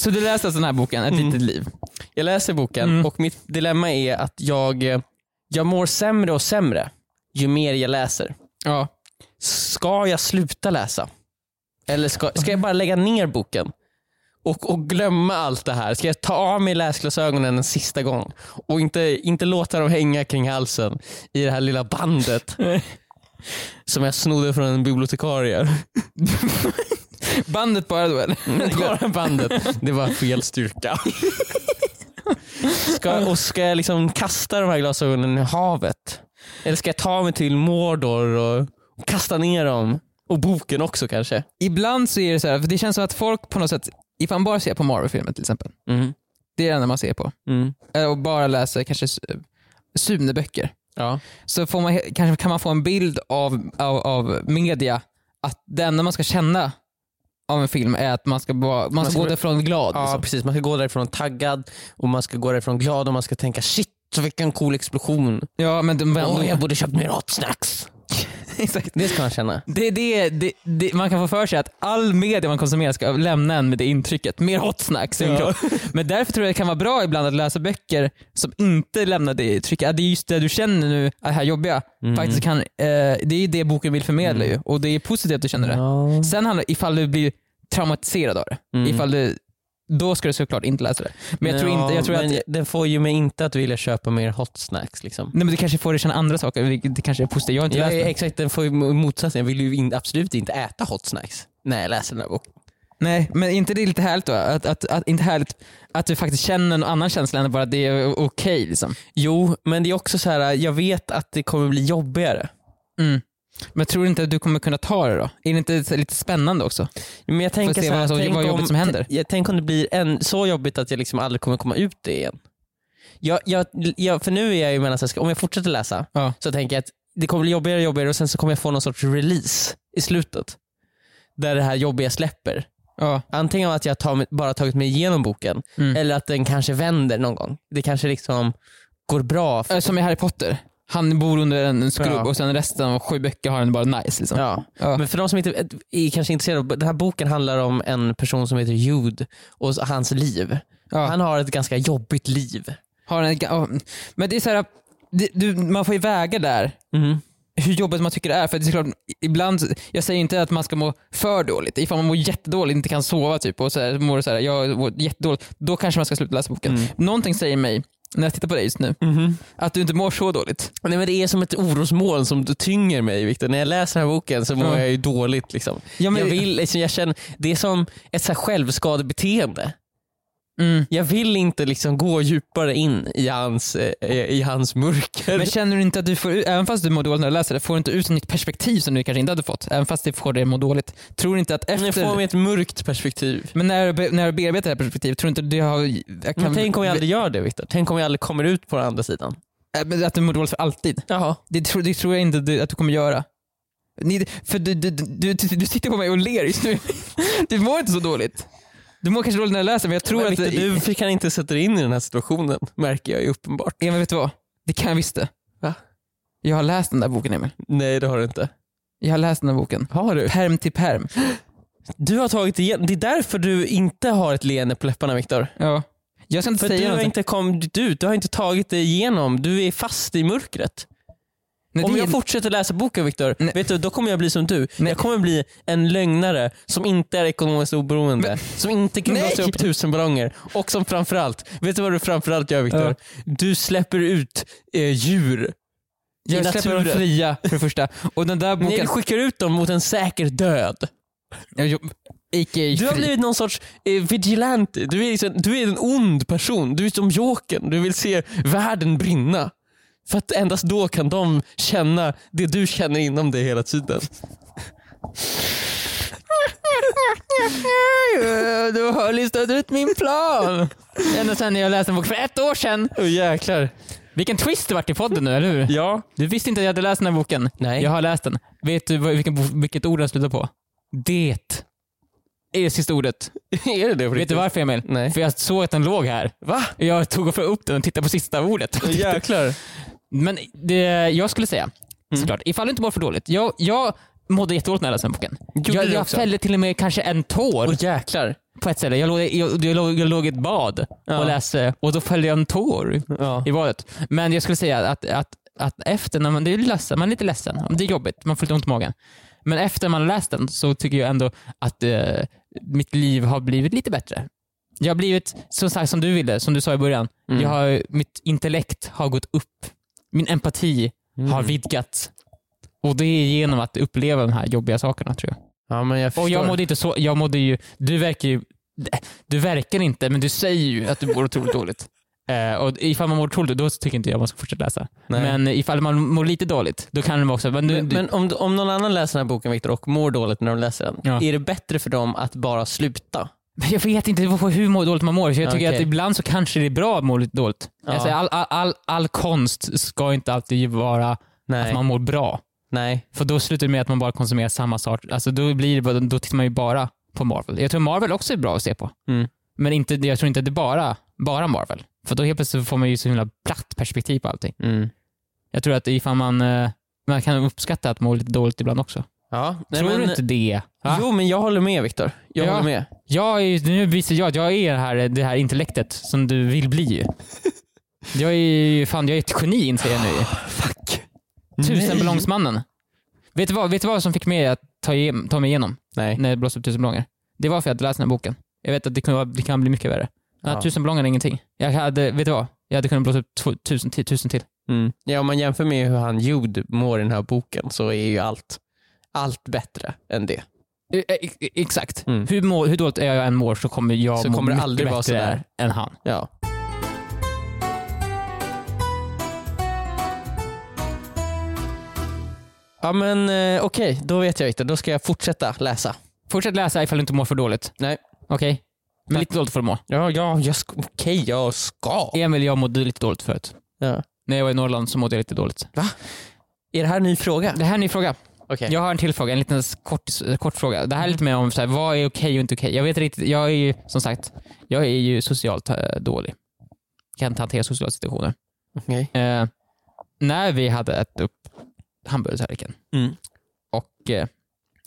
Så du läste alltså den här boken, Ett litet liv? Jag läser boken Mm. och mitt dilemma är att jag, jag mår sämre och sämre ju mer jag läser. Ja. Ska jag sluta läsa? Eller ska, ska jag bara lägga ner boken? Och, och glömma allt det här? Ska jag ta av mig läsglasögonen en sista gång? Och inte, inte låta dem hänga kring halsen i det här lilla bandet som jag snodde från en bibliotekarie. Bandet bara då eller? Bara bandet. Mm, Det var fel styrka. Ska, och ska jag liksom kasta de här glasögonen i havet? Eller ska jag ta mig till Mordor och, och kasta ner dem? Och boken också kanske? Ibland så är det så här, för det känns som att folk på något sätt, ifall man bara ser på Marvel-filmer till exempel, Mm. det är det enda man ser på, Mm. Eh, och bara läser kanske Su- Sune-böcker, Ja. så får man, he- kanske kan man få en bild av, av, av media att det enda man ska känna av en film är att man ska, bara, man ska, ska gå bli- därifrån glad. ja, liksom. precis. Man ska gå därifrån taggad och man ska gå därifrån glad och man ska tänka shit vilken cool explosion. ja men de Åh, vänder... jag borde köpt mer hot snacks. Exakt. Det ska man känna. Det, det, det, det, man kan få för sig att all media man konsumerar ska lämna en med det intrycket. Mer hot snacks i en Ja. kropp. Men därför tror jag det kan vara bra ibland att läsa böcker som inte lämnar det intrycket. Att det är just det du känner nu, det här jobbiga, Mm. faktiskt kan, eh, det är ju det boken vill förmedla ju. Och det är positivt att du känner det. Ja. Sen handlar det ifall du blir traumatiserad av det. Mm. Ifall du, då ska du såklart inte läsa det. Men jag tror inte, jag tror att men Den får ju mig inte att vilja köpa mer hot snacks. Liksom. Nej men du kanske får dig känna andra saker, vilket det kanske är positivt. Jag har inte Ja, läst det. exakt, den får ju motsatsen. Jag vill ju in, absolut inte äta hot snacks när jag läser den här boken. Nej, men inte det är lite härligt då? Att, att, att, inte härligt att du faktiskt känner en annan känsla än bara att det är okej liksom. Jo, men det är också så här, jag vet att det kommer bli jobbigare. Mm. Men tror du inte att du kommer kunna ta det då? Är det inte så- lite spännande också? Men jag tänker se så här, vad som- tänk vad jobbigt om, som händer. Jag, tänk om det blir en, så jobbigt att jag liksom aldrig kommer komma ut det igen. Jag, jag, jag, för nu är jag ju mellan, så här, ska- om jag fortsätter läsa Ja. så tänker jag att det kommer bli jobbigare och jobbigare och sen så kommer jag få någon sorts release i slutet. Där det här jobbiga släpper. Ja. Antingen att jag tar, mig- bara tagit mig igenom boken Mm. eller att den kanske vänder någon gång. Det kanske liksom går bra. För, Eh, Som i Harry Potter. Han bor under en en skrubb Ja. och sen resten av sju böcker har han bara nice liksom. ja. Ja. Men för de som inte är- är kanske intresserade, av- den här boken handlar om en person som heter Jude och hans liv. Ja. Han har ett ganska jobbigt liv. Har en, ga- ja, men det är så här, det, du, man får ju väga där Mm. hur jobbigt man tycker det är. För det är klart, ibland, jag säger inte att man ska må för dåligt. Ifall man mår jättedåligt, inte kan sova typ och så här, mår så här, jag mår jättedåligt, då kanske man ska sluta läsa boken. Mm. Någonting säger mig, när jag tittar på dig just nu, att du inte mår så dåligt. Nej, men det är som ett orosmoln som tynger mig Victor. När jag läser den här boken så mår Ja. jag ju dåligt. Liksom. Ja, men- jag vill, liksom, jag känner, det är som ett så här självskadebeteende. Mm. Jag vill inte liksom gå djupare in i hans, eh, i hans mörker. Men känner du inte att du får, ut- även fast du mår dåligt när du läser det, får du inte ut ett nytt perspektiv som du kanske inte hade fått? Även fast det får dig att må dåligt. Tror du inte att Jag får efter... mig ett mörkt perspektiv. Men när du, be- när du bearbetar det här perspektivet, tror du inte det har... jag Men tänk om jag aldrig gör det Victor. Tänk om jag aldrig kommer ut på den andra sidan. Äh, men Att du mår dåligt för alltid? Jaha. Det, tror- det tror jag inte du, att du kommer göra. Ni, för du, du, du, du, du sitter på mig och ler just nu. Du mår inte så dåligt. Du mår kanske dåligt när du läser men jag tror Men att... Victor, du fick han inte sätta dig in i den här situationen märker jag ju uppenbart. Emil, vet du vad? Det kan jag visst det. Va? Jag har läst den där boken Emil. Nej det har du inte. Jag har läst den där boken. Har du? Perm till perm. Du har tagit igen. Det är därför du inte har ett leende på läpparna Victor. Ja. Jag ska inte För att du säga har någonting. inte kommit ut, du har inte tagit dig igenom, du är fast i mörkret. Nej, Om det är- jag fortsätter läsa boken Viktor, Nej. vet du, då kommer jag bli som du. Nej. Jag kommer bli en lögnare som inte är ekonomiskt oberoende, som inte kan Nej. blåsa upp tusen ballonger och som framförallt, vet du vad du framförallt gör Viktor? Ja. Du släpper ut eh, djur. i jag släpper dem naturen. fria för det första. Och den där Nej, boken... du skickar ut dem mot en säker död. Jag jobb- A.k.a. Du har fri. blivit någon sorts eh, vigilante. Du är, liksom, du är en ond person. Du är som Jokern. Du vill se världen brinna. För att endast då kan de känna det du känner inom dig hela tiden. Du har listat ut min plan. Ända sedan jag läste en bok för ett år sedan. Åh jäklar. Vilken twist det vart i podden nu, eller hur? Ja. Du visste inte att jag hade läst den här boken. Nej. Jag har läst den. Vet du vad- vilken, bo- vilket ord den slutar på? Det. Är det sista ordet. är det det på Vet du riktigt? Mm. varför Emil? Nej. För jag såg att den låg här. Va? Jag tog och upp den och tittade på sista ordet. Åh, jäklar. Mm. Men det jag skulle säga, såklart, ifall du inte mår för dåligt. Jag, jag mådde jättedåligt när jag läste den här boken. Gjorde jag du jag också? fällde till och med kanske en tår Åh jäklar. på ett ställe. Jag låg, jag, jag låg, jag låg i ett bad Ja. och läste och då följde jag en tår Ja. i badet. Men jag skulle säga att, att, att efter, när man, det är ledsen, man är lite ledsen, det är jobbigt, man får lite ont i magen. Men efter man har läst den så tycker jag ändå att eh, mitt liv har blivit lite bättre. Jag har blivit, som sagt som du ville, som du sa i början, Mm. jag har, mitt intellekt har gått upp. Min empati har Mm. vidgats. Och det är genom att uppleva de här jobbiga sakerna tror jag. Ja, men jag förstår. Och jag mådde inte så, jag mådde ju, du verkar ju, du verkar inte, men du säger ju att du mår otroligt dåligt. Eh, och ifall man mår otroligt dåligt, då tycker inte jag man ska fortsätta läsa. Nej. Men ifall man mår lite dåligt, då kan man också, men, du, Men, du, men om, om någon annan läser den här boken Victor och mår dåligt när de läser den, Ja. är det bättre för dem att bara sluta? men jag vet inte hur hur må- dåligt man mår, så jag tycker Okej. att ibland så kanske det är bra att må lite dåligt. Ja. Alltså, all, all, all, all konst ska inte alltid vara Nej. att man mår bra. Nej. För då slutar det med att man bara konsumerar samma sort. Alltså då, blir det, bara- då tittar man ju bara på Marvel. Jag tror Marvel också är bra att se på. Mm. Men inte, jag tror inte att det är bara, bara Marvel. För då helt plötsligt får man ju så himla platt perspektiv på allting. Mm. Jag tror att ifall man, eh, man kan uppskatta att må lite dåligt ibland också. Ja. Nej, tror men, du inte det? Va? Jo, men jag håller med Viktor. Jag Ja. håller med. Jag är, ju- nu visar jag att jag är det här, det här intellektet som du vill bli. ju. Jag är ju fan, jag är ett geni inser jag nu. Fuck. Tusenballongsmannen. Vet du vad, vet du vad som fick mig att ta, ige- ta mig igenom? Nej. när det blåste upp tusen ballonger. Det var för att jag hade läst den här boken. Jag vet att det kan, vara- det kan bli mycket värre. Men Ja. att Tusen ballonger är ingenting. Jag hade, vet du vad? Jag hade kunnat blåsa upp två- tusen, till, tusen till. Mm. Ja, om man jämför med hur han Jude mår i den här boken så är ju allt, allt bättre än det. E- e- e- Exakt. Mm. Hur, må, hur dåligt jag än mår så kommer jag Så må kommer det mycket aldrig vara bättre sådär. än han. Ja. Ja men eh, okej, då vet jag Victor. Då ska jag fortsätta läsa. Fortsätt läsa ifall du inte mår för dåligt. Nej. Okej? Men lite dåligt får du må. Ja, ja, jag ska, okej, jag ska. Emil och jag mådde lite dåligt förut. Ja. När jag var i Norrland så mådde jag lite dåligt. Är det här en ny fråga? Det här är en ny fråga. Okej. Jag har en till fråga, en liten s- kort, s- kort fråga. Det här är lite mer om så här, vad är okej och inte okej. Jag vet riktigt, jag är ju som sagt, jag är ju socialt eh, dålig. Kan inte hantera sociala situationer. Okej. Eh, när vi hade ätit upp hamburgertallriken Mm. och eh,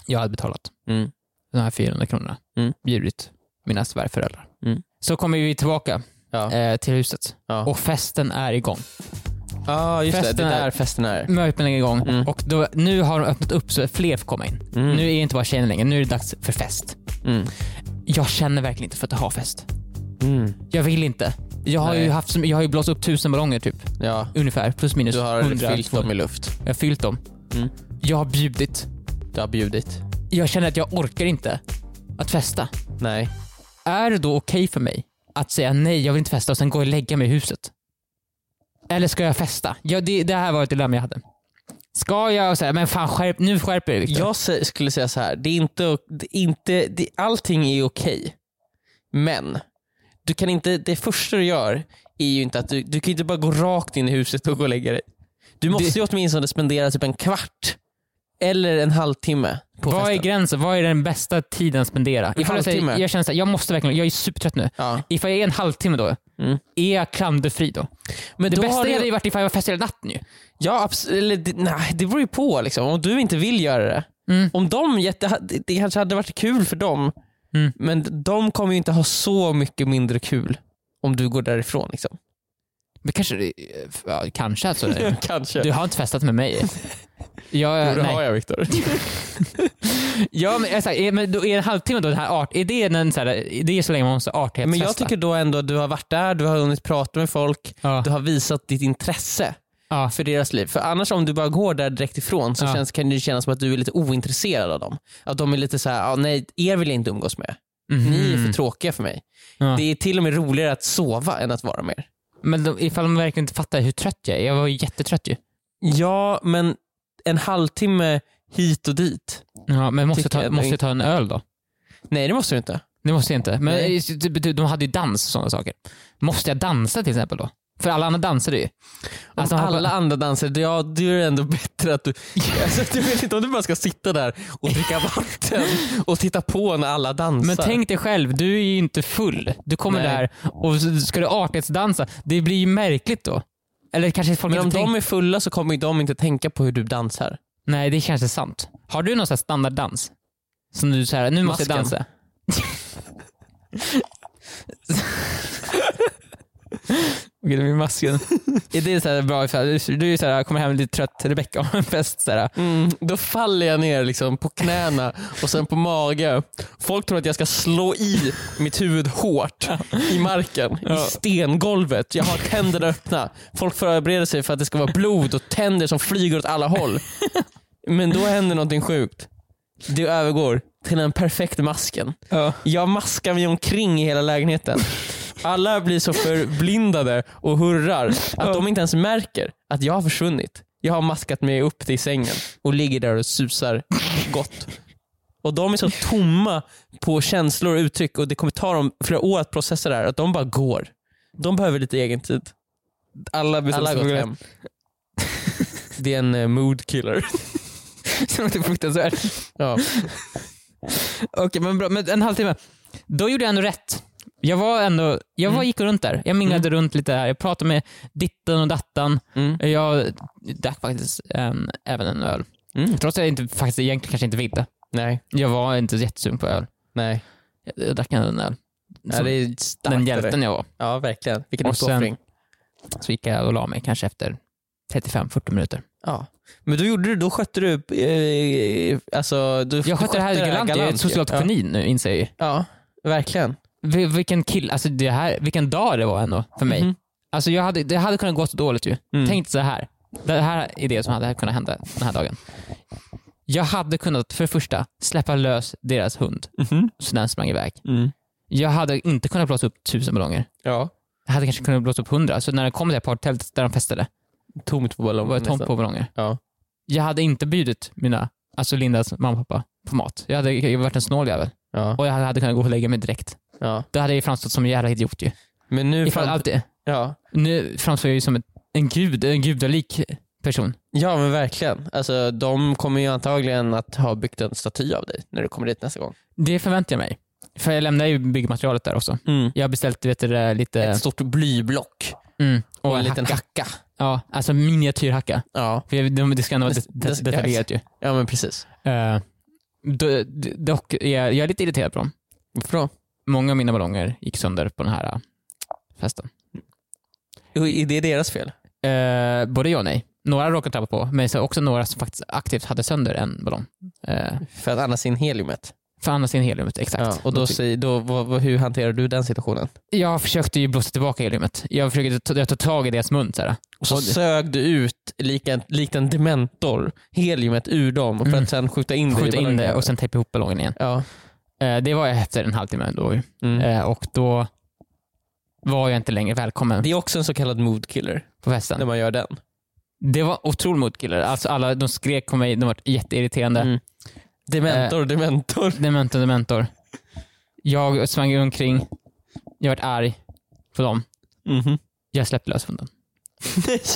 jag hade betalat Mm. de här 400 kronorna, Mm. bjudit mina svärföräldrar. Mm. Så kommer vi tillbaka Ja. eh, till huset. Ja. Och festen är igång. ah, just det. festen Det är är- där festen är. Mötena är igång Mm. och då, nu har de öppnat upp så fler får komma in. Mm. Nu är det inte bara tjejerna längre, nu är det dags för fest. Mm. Jag känner verkligen inte för att ha fest. Mm. Jag vill inte. Jag har, Nej. ju, haft, så- jag har ju blåst upp tusen ballonger typ, Ja. ungefär. Plus minus Du har 100, fyllt 200. dem i luft. Jag har fyllt dem. Mm. Jag har bjudit. Du har bjudit. Jag känner att jag orkar inte att festa. Nej. Är det då okej för mig att säga nej, jag vill inte festa och sen gå och lägga mig i huset? Eller ska jag festa? Ja, det, det här var ett dilemma jag hade. Ska jag säga, men fan skärp, nu skärper du Viktor. Jag sä- skulle säga så här. Det är inte, det är inte, det, allting är okej. Men du kan inte, det första du gör är ju inte att du, du kan ju inte bara gå rakt in i huset och gå och lägga dig. Du måste ju åtminstone spendera typ en kvart eller en halvtimme på Vad är festen. gränsen? Vad är den bästa tiden att spendera? Ifall jag, säger, halvtimme. jag känner så här, jag måste verkligen, jag är supertrött nu. ja. Ifall jag är en halvtimme då, Mm. är jag klanderfri då? Men Det då bästa har du- hade ju varit ifall jag var fest hela natten ju. Ja, absolut. Eller, det- nej, det beror ju på. Liksom. Om du inte vill göra det. Mm. Om de jätte, det- det kanske hade varit kul för dem, Mm. men de kommer ju inte ha så mycket mindre kul om du går därifrån. Liksom. Men kanske, ja, kanske alltså. kanske. Du har inte festat med mig. Jo, Jag, det nej. har jag Viktor. Ja, men, jag säger, är, men då är en halvtimme då den här art, är det, en, så här, det är så länge man måste artighetsfesta? Men jag tycker då ändå att du har varit där, du har hunnit prata med folk, Ja. du har visat ditt intresse Ja. för deras liv. För annars om du bara går där direkt ifrån så Ja. känns, kan det kännas som att du är lite ointresserad av dem. Att de är lite så här, ah, nej, er vill jag inte umgås med. Mhm. Ni är för tråkiga för mig. Ja. Det är till och med roligare att sova än att vara med er. Men de, ifall de verkligen inte fattar hur trött jag är. Jag var ju jättetrött ju. Ja, men en halvtimme hit och dit. Ja, men måste jag, Tycker ta, jag. måste jag ta en öl då? Nej, det måste du inte. Det måste jag inte. Men Nej. det betyder- de hade ju dans och sådana saker. Måste jag dansa till exempel då? För alla andra dansade ju. Om Alltså, han- alla andra danser, då- ja, då är det ändå bättre att du... Alltså, jag vet inte om du bara ska sitta där och dricka vatten och titta på när alla dansar. Men tänk dig själv, du är ju inte full. Du kommer Nej. där och så ska du artighetsdansa. Det blir ju märkligt då. Eller kanske folk Men inte om tänker- de är fulla så kommer ju de inte tänka på hur du dansar. Nej, det känns det sant. Har du någon sån här standarddans? Som du säger, nu måste jag Masken. dansa. Okej, det blir masken. Är det så här bra ifall du är så här, kommer hem lite trött, Rebecka har en fest. Så här. Mm, då faller jag ner liksom på knäna och sen på mage. Folk tror att jag ska slå i mitt huvud hårt i marken, i stengolvet. Jag har tänderna öppna. Folk förbereder sig för att det ska vara blod och tänder som flyger åt alla håll. Men då händer någonting sjukt. Det övergår till den perfekta masken. Ja. Jag maskar mig omkring i hela lägenheten. Alla blir så förblindade och hurrar att de inte ens märker att jag har försvunnit. Jag har maskat mig upp till sängen och ligger där och susar gott. Och de är så tomma på känslor och uttryck och det kommer ta dem flera år att processa det här. Att de bara går. De behöver lite egen tid. Alla bestämmer Alla har sig gått för- hem. Det är en eh, mood killer. Det låter fruktansvärt. Ja. Okej, men bra. Men en halvtimme. Då gjorde jag ändå rätt. Jag var ändå, jag Mm. var, gick runt där. Jag minglade runt lite här. Jag pratade med ditten och dattan. Mm. Jag drack faktiskt em, även en öl. Mm. Trots att jag inte, faktiskt egentligen kanske inte ville. Nej, Jag var inte jättesugen på öl. nej. Jag, jag drack ändå en öl. Ja, Som det är starkt. den det där. hjälten jag var. Ja, verkligen. Vilken Och sen- uppoffring. Så gick jag och la mig kanske efter 35-40 minuter. Ja. Men då gjorde du, då skötte du, eh, alltså, du Jag skötte det här galant. Jag är ett socialt ja. geni nu inser jag ju. ja, verkligen. Vil- Vilken kill, alltså det här, vilken dag det var ändå för mig. Mhm. Alltså jag hade, det hade kunnat gått dåligt ju. Mm. Tänk så här. Det här är det som hade kunnat hända den här dagen. Jag hade kunnat, för det första, släppa lös deras hund Mm. så den sprang iväg. Jag hade inte kunnat blåsa upp tusen ballonger. Ja. Jag hade kanske kunnat blåsa upp hundra. Så när det kom till det här partältet där de festade, Tomt på ballongen var jag tomt på ballonger. Ja. Jag hade inte bjudit mina, alltså Lindas mamma och pappa på mat. Jag hade jag hade varit en snål jävel. Ja. Och jag hade kunnat gå och lägga mig direkt. Ja. Då hade jag ju framstått som en jävla idiot ju. Men nu, Ifall fram- allt det, ja. nu framstår jag ju som ett, en gud, en gudalik person. ja men verkligen. Alltså, de kommer ju antagligen att ha byggt en staty av dig när du kommer dit nästa gång. Det förväntar jag mig. För jag lämnar ju byggmaterialet där också. Jag har beställt vet du, det, lite... Ett stort blyblock Mm, och, en liten hacka. hacka. Ja, alltså miniatyrhacka. Ja. För jag- det- det ska ändå vara det, Det- det- detaljerat ju. ja, men precis. Eh, do- do- dock, är jag, jag är lite irriterad på dem. Varför då? Många av mina ballonger gick sönder på den här eh, festen. Är det deras fel? Eh, både ja och nej. Några råkade tappa på, men så också några som faktiskt aktivt hade sönder en ballong. Eh, För att annars in heliumet. för annars är heliumet, exakt. Ja, och då, Någonting. säger- då, vad, vad, hur hanterar du den situationen? Jag försökte ju blåsa tillbaka heliumet. Jag försökte ta, jag tog tag i deras mun. Så här. Och så Och- sög du ut, likt en, likt en dementor, heliumet ur dem för Mm. att sen skjuta in det i Skjuta in det ballongen. och sen tejpa ihop ballongen igen. Ja. Eh, det var efter en halvtimme då ju. Mm. Eh, och då var jag inte längre välkommen Det är också en så kallad mood killer, på festen. när man gör den. Det var otroligt motkiller. Alltså alla, de skrek på mig, de var jätteirriterande. Mm. Dementor, Eh. dementor. Dementor, dementor. Jag sprang omkring, jag vart arg på dem. Mhm. Jag släppte lös hunden.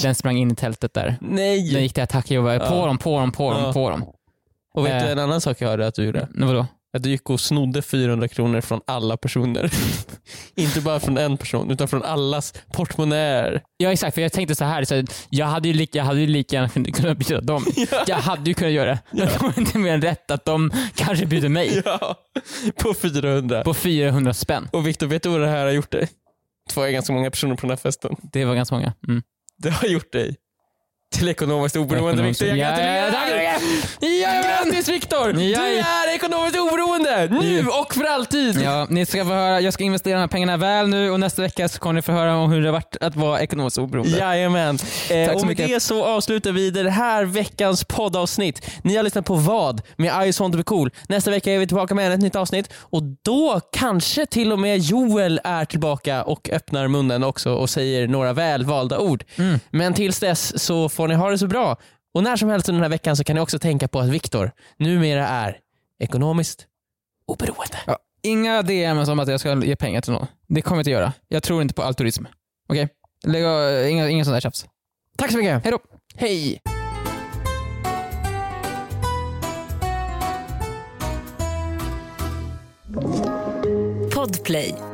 Den sprang in i tältet där. Nej! Den gick till attack, jag var på Ja. dem, på dem, på dem, Ja. på dem. Och vet Eh. du en annan sak jag hörde att du gjorde? Men Vadå? Att du gick och snodde 400 kronor från alla personer. Inte bara från en person, utan från allas portmonnäer. Ja exakt, för jag tänkte så här, så här jag, hade ju lika, jag hade ju lika gärna kunnat byta dem. Jag hade ju kunnat göra det. Det var inte mer än rätt att de kanske byter mig Ja, på 400. på 400 spänn. Och Viktor, vet du vad det här har gjort dig? Det var ju ganska många personer på den här festen. Det var ganska många. Mm. Det har gjort dig till ekonomiskt oberoende Viktor. Jag Ja, tack så gratulerar! mycket! Ja, grattis Viktor! Du Ja, ja. är ekonomiskt oberoende! Nu och för alltid! Ja, ni ska få höra, jag ska investera de här pengarna väl nu och nästa vecka så kommer ni få höra om hur det har varit att vara ekonomiskt oberoende. Jajamän. Eh, Tack så och med mycket. det så avslutar vi den här veckans poddavsnitt. Ni har lyssnat på vad med I want to be cool. Nästa vecka är vi tillbaka med ett nytt avsnitt och då kanske till och med Joel är tillbaka och öppnar munnen också och säger några välvalda ord. Mm. Men tills dess så får ni ha det så bra. Och när som helst under den här veckan så kan ni också tänka på att Viktor numera är ekonomiskt oberoende. Ja, inga DMs om att jag ska ge pengar till någon. Det kommer jag inte göra. Jag tror inte på altruism. Okej? Lägg av- Inga, inga sådana där tjafs. Tack så mycket. Hej då! Hej! Podplay.